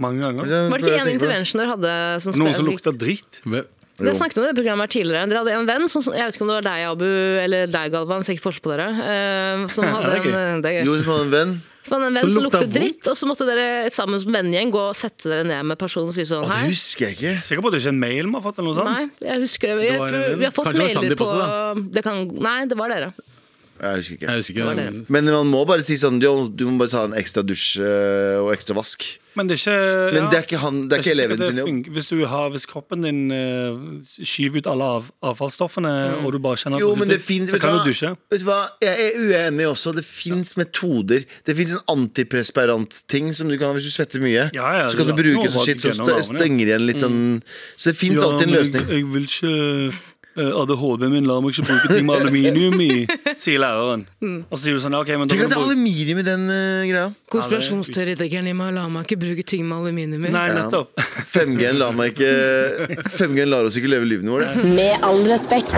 F: Mange ganger.
E: Eh,
C: Var det ikke en intervention dere hadde? Som
F: Noen
C: spe-
F: som lukter dritt.
C: Dere snakket om det i programmet her tidligere. Dere hadde en venn, som, jeg vet ikke om det var deg, Abu, eller deg, Galvan, ser ikke forskjell på dere, eh, som hadde
F: det er
C: en, det er gøy.
E: Jo, som en venn.
C: Som hadde en venn
D: Som
C: som
D: lukta
C: luktet dritt, og så måtte dere sammen som vennegjeng gå og sette dere ned med personen og si sånn
E: Å, det
C: hei.
E: husker jeg ikke.
F: Sikker på at det ikke er en mail vi har fått? eller noe sånt?
C: Nei, jeg husker det.
D: Det
C: Jeg,
D: var en
C: for,
D: venn.
C: vi har fått
D: Kanskje det
C: mailer
D: var Sandeep
C: på
D: også,
C: det kan, Nei, det var dere.
E: Jeg husker ikke.
D: Jeg husker
C: Det
D: ikke.
C: var dere.
E: Men man må bare si sånn jo, Du må bare ta en ekstra dusj eh, og ekstra vask.
F: Men det er ikke
E: Men
F: ja.
E: det er ikke, han, det er ikke
F: Jeg synes
E: eleven
F: det
E: sin jobb.
F: funker. Hvis, du har, hvis kroppen din eh, skyver ut alle av, avfallsstoffene, og du bare kjenner at
E: Mm. Jo,
F: du
E: men
F: lukter,
E: det finnes,
F: så
E: vet, du
F: kan
E: hva?
F: du dusje.
E: vet du hva, jeg er uenig også. Det fins metoder. Det fins en antipresperant-ting som du kan hvis du svetter mye.
F: Ja, ja,
E: så kan du
F: ja.
E: bruke
F: Nå
E: sånn
F: var
E: shit
F: det
E: som
F: gjennom
E: st-
F: navnet, ja. Mm.
E: stenger igjen litt sånn Så det fins alltid en løsning.
F: Jeg, vil ikke eh, ADHD-en min lar meg ikke bruke ting med aluminium i, sier læreren. Og så sier du sånn, ok, men da
E: Mm. Tenk
F: kan
E: at
F: du
E: det er
F: bruke
E: aluminium i den eh, greia.
C: Konspirasjonsteoretikeren i meg la meg ikke bruke ting med aluminium i.
F: Nei, nettopp.
E: 5G-en lar meg ikke 5G-en lar oss ikke leve livene våre.
G: Med all respekt.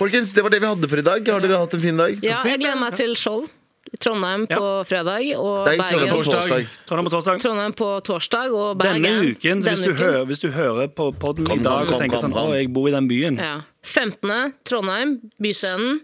E: Folkens, det var det vi hadde for i dag. Har dere hatt en fin dag?
C: Ja, jeg gleder meg til show i Trondheim på fredag og
E: Nei, Trondheim
C: Bergen.
E: på torsdag.
F: Trondheim og torsdag.
C: Trondheim på torsdag og Bergen.
F: Denne uken, hvis,
C: Denne
F: du Hører, hvis du hører på podden
E: Kom,
F: i dag
E: kom,
F: og tenker
E: kom,
F: sånn,
E: kom.
F: å, jeg bor i den byen.
C: Ja. 15. Trondheim, Byscenen.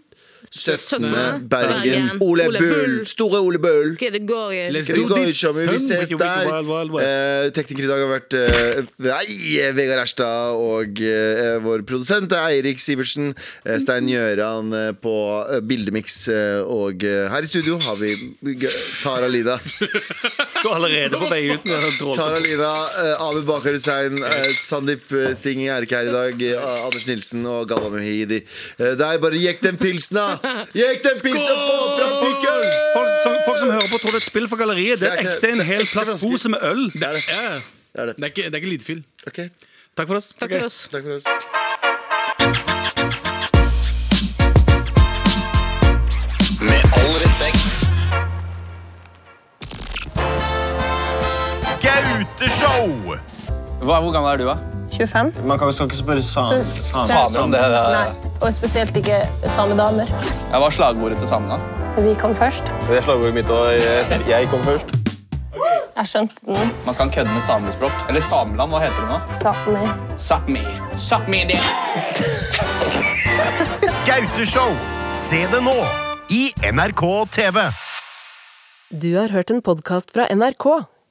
E: 17.
C: Søttende,
E: Bergen.
C: Bergen.
E: Ole
C: Ole
E: Bull.
C: Bull.
E: Store Ole Bull.
C: Ok, det går jo.
D: Les-
E: Skal vi
D: Do
E: gå ut,
D: this,
E: Shami? Vi
D: son.
E: ses
F: Wiki, wiki,
E: der.
F: wild, wild west.
E: Eh, tekniker i dag har vært eh, nei, Vegard Erstad og eh, vår produsent er Eirik Sivertsen. eh, Stein Gjøran eh, på eh, Bildemiks. eh, og eh, her i studio har vi g- Tara Lina.
F: Går allerede på vei ut med den dråpen.
E: Tara Lina, eh, Abu Bakar Hussein, eh, Sandeep eh, Singh er ikke her i dag. eh, Anders Nilsen og Galva Muhidi. Eh, det er bare jekk den pilsna! Jekk den pilsna, få fram pikken!
F: Folk som, folk som hører på, tror det er et spill for galleriet. Det
E: Det er
F: er
E: ikke-
F: ekte en
E: det er
F: hel
E: ikke
F: plastpose med øl.
E: Det er det.
D: Ja, ja.
E: det, er det.
D: Det er ikke, det er ikke lydfyll.
E: Ok,
D: Takk for oss.
C: Takk for oss.
E: takk for oss.
B: Med all respekt.
I: Gauteshow!
J: hvor gammel er du, da?
K: 25.
I: Man kan jo ikke spørre
K: Så-
I: samer.
K: så-
J: Fader om det, det
K: Nei,
J: er-
K: og spesielt ikke samedamer.
J: Jeg var slagordet til samene.
K: Vi kom først.
I: Det er slagordet mitt, og jeg, jeg kom først.
K: Jeg skjønte den.
J: Man kan kødde med samespråk. Eller Sameland, hva heter det nå?
K: Sami.
J: Sápmi. Sápmi det.
I: Gauteshow! Se det nå i NRK TV.
G: Du har hørt en podkast fra NRK.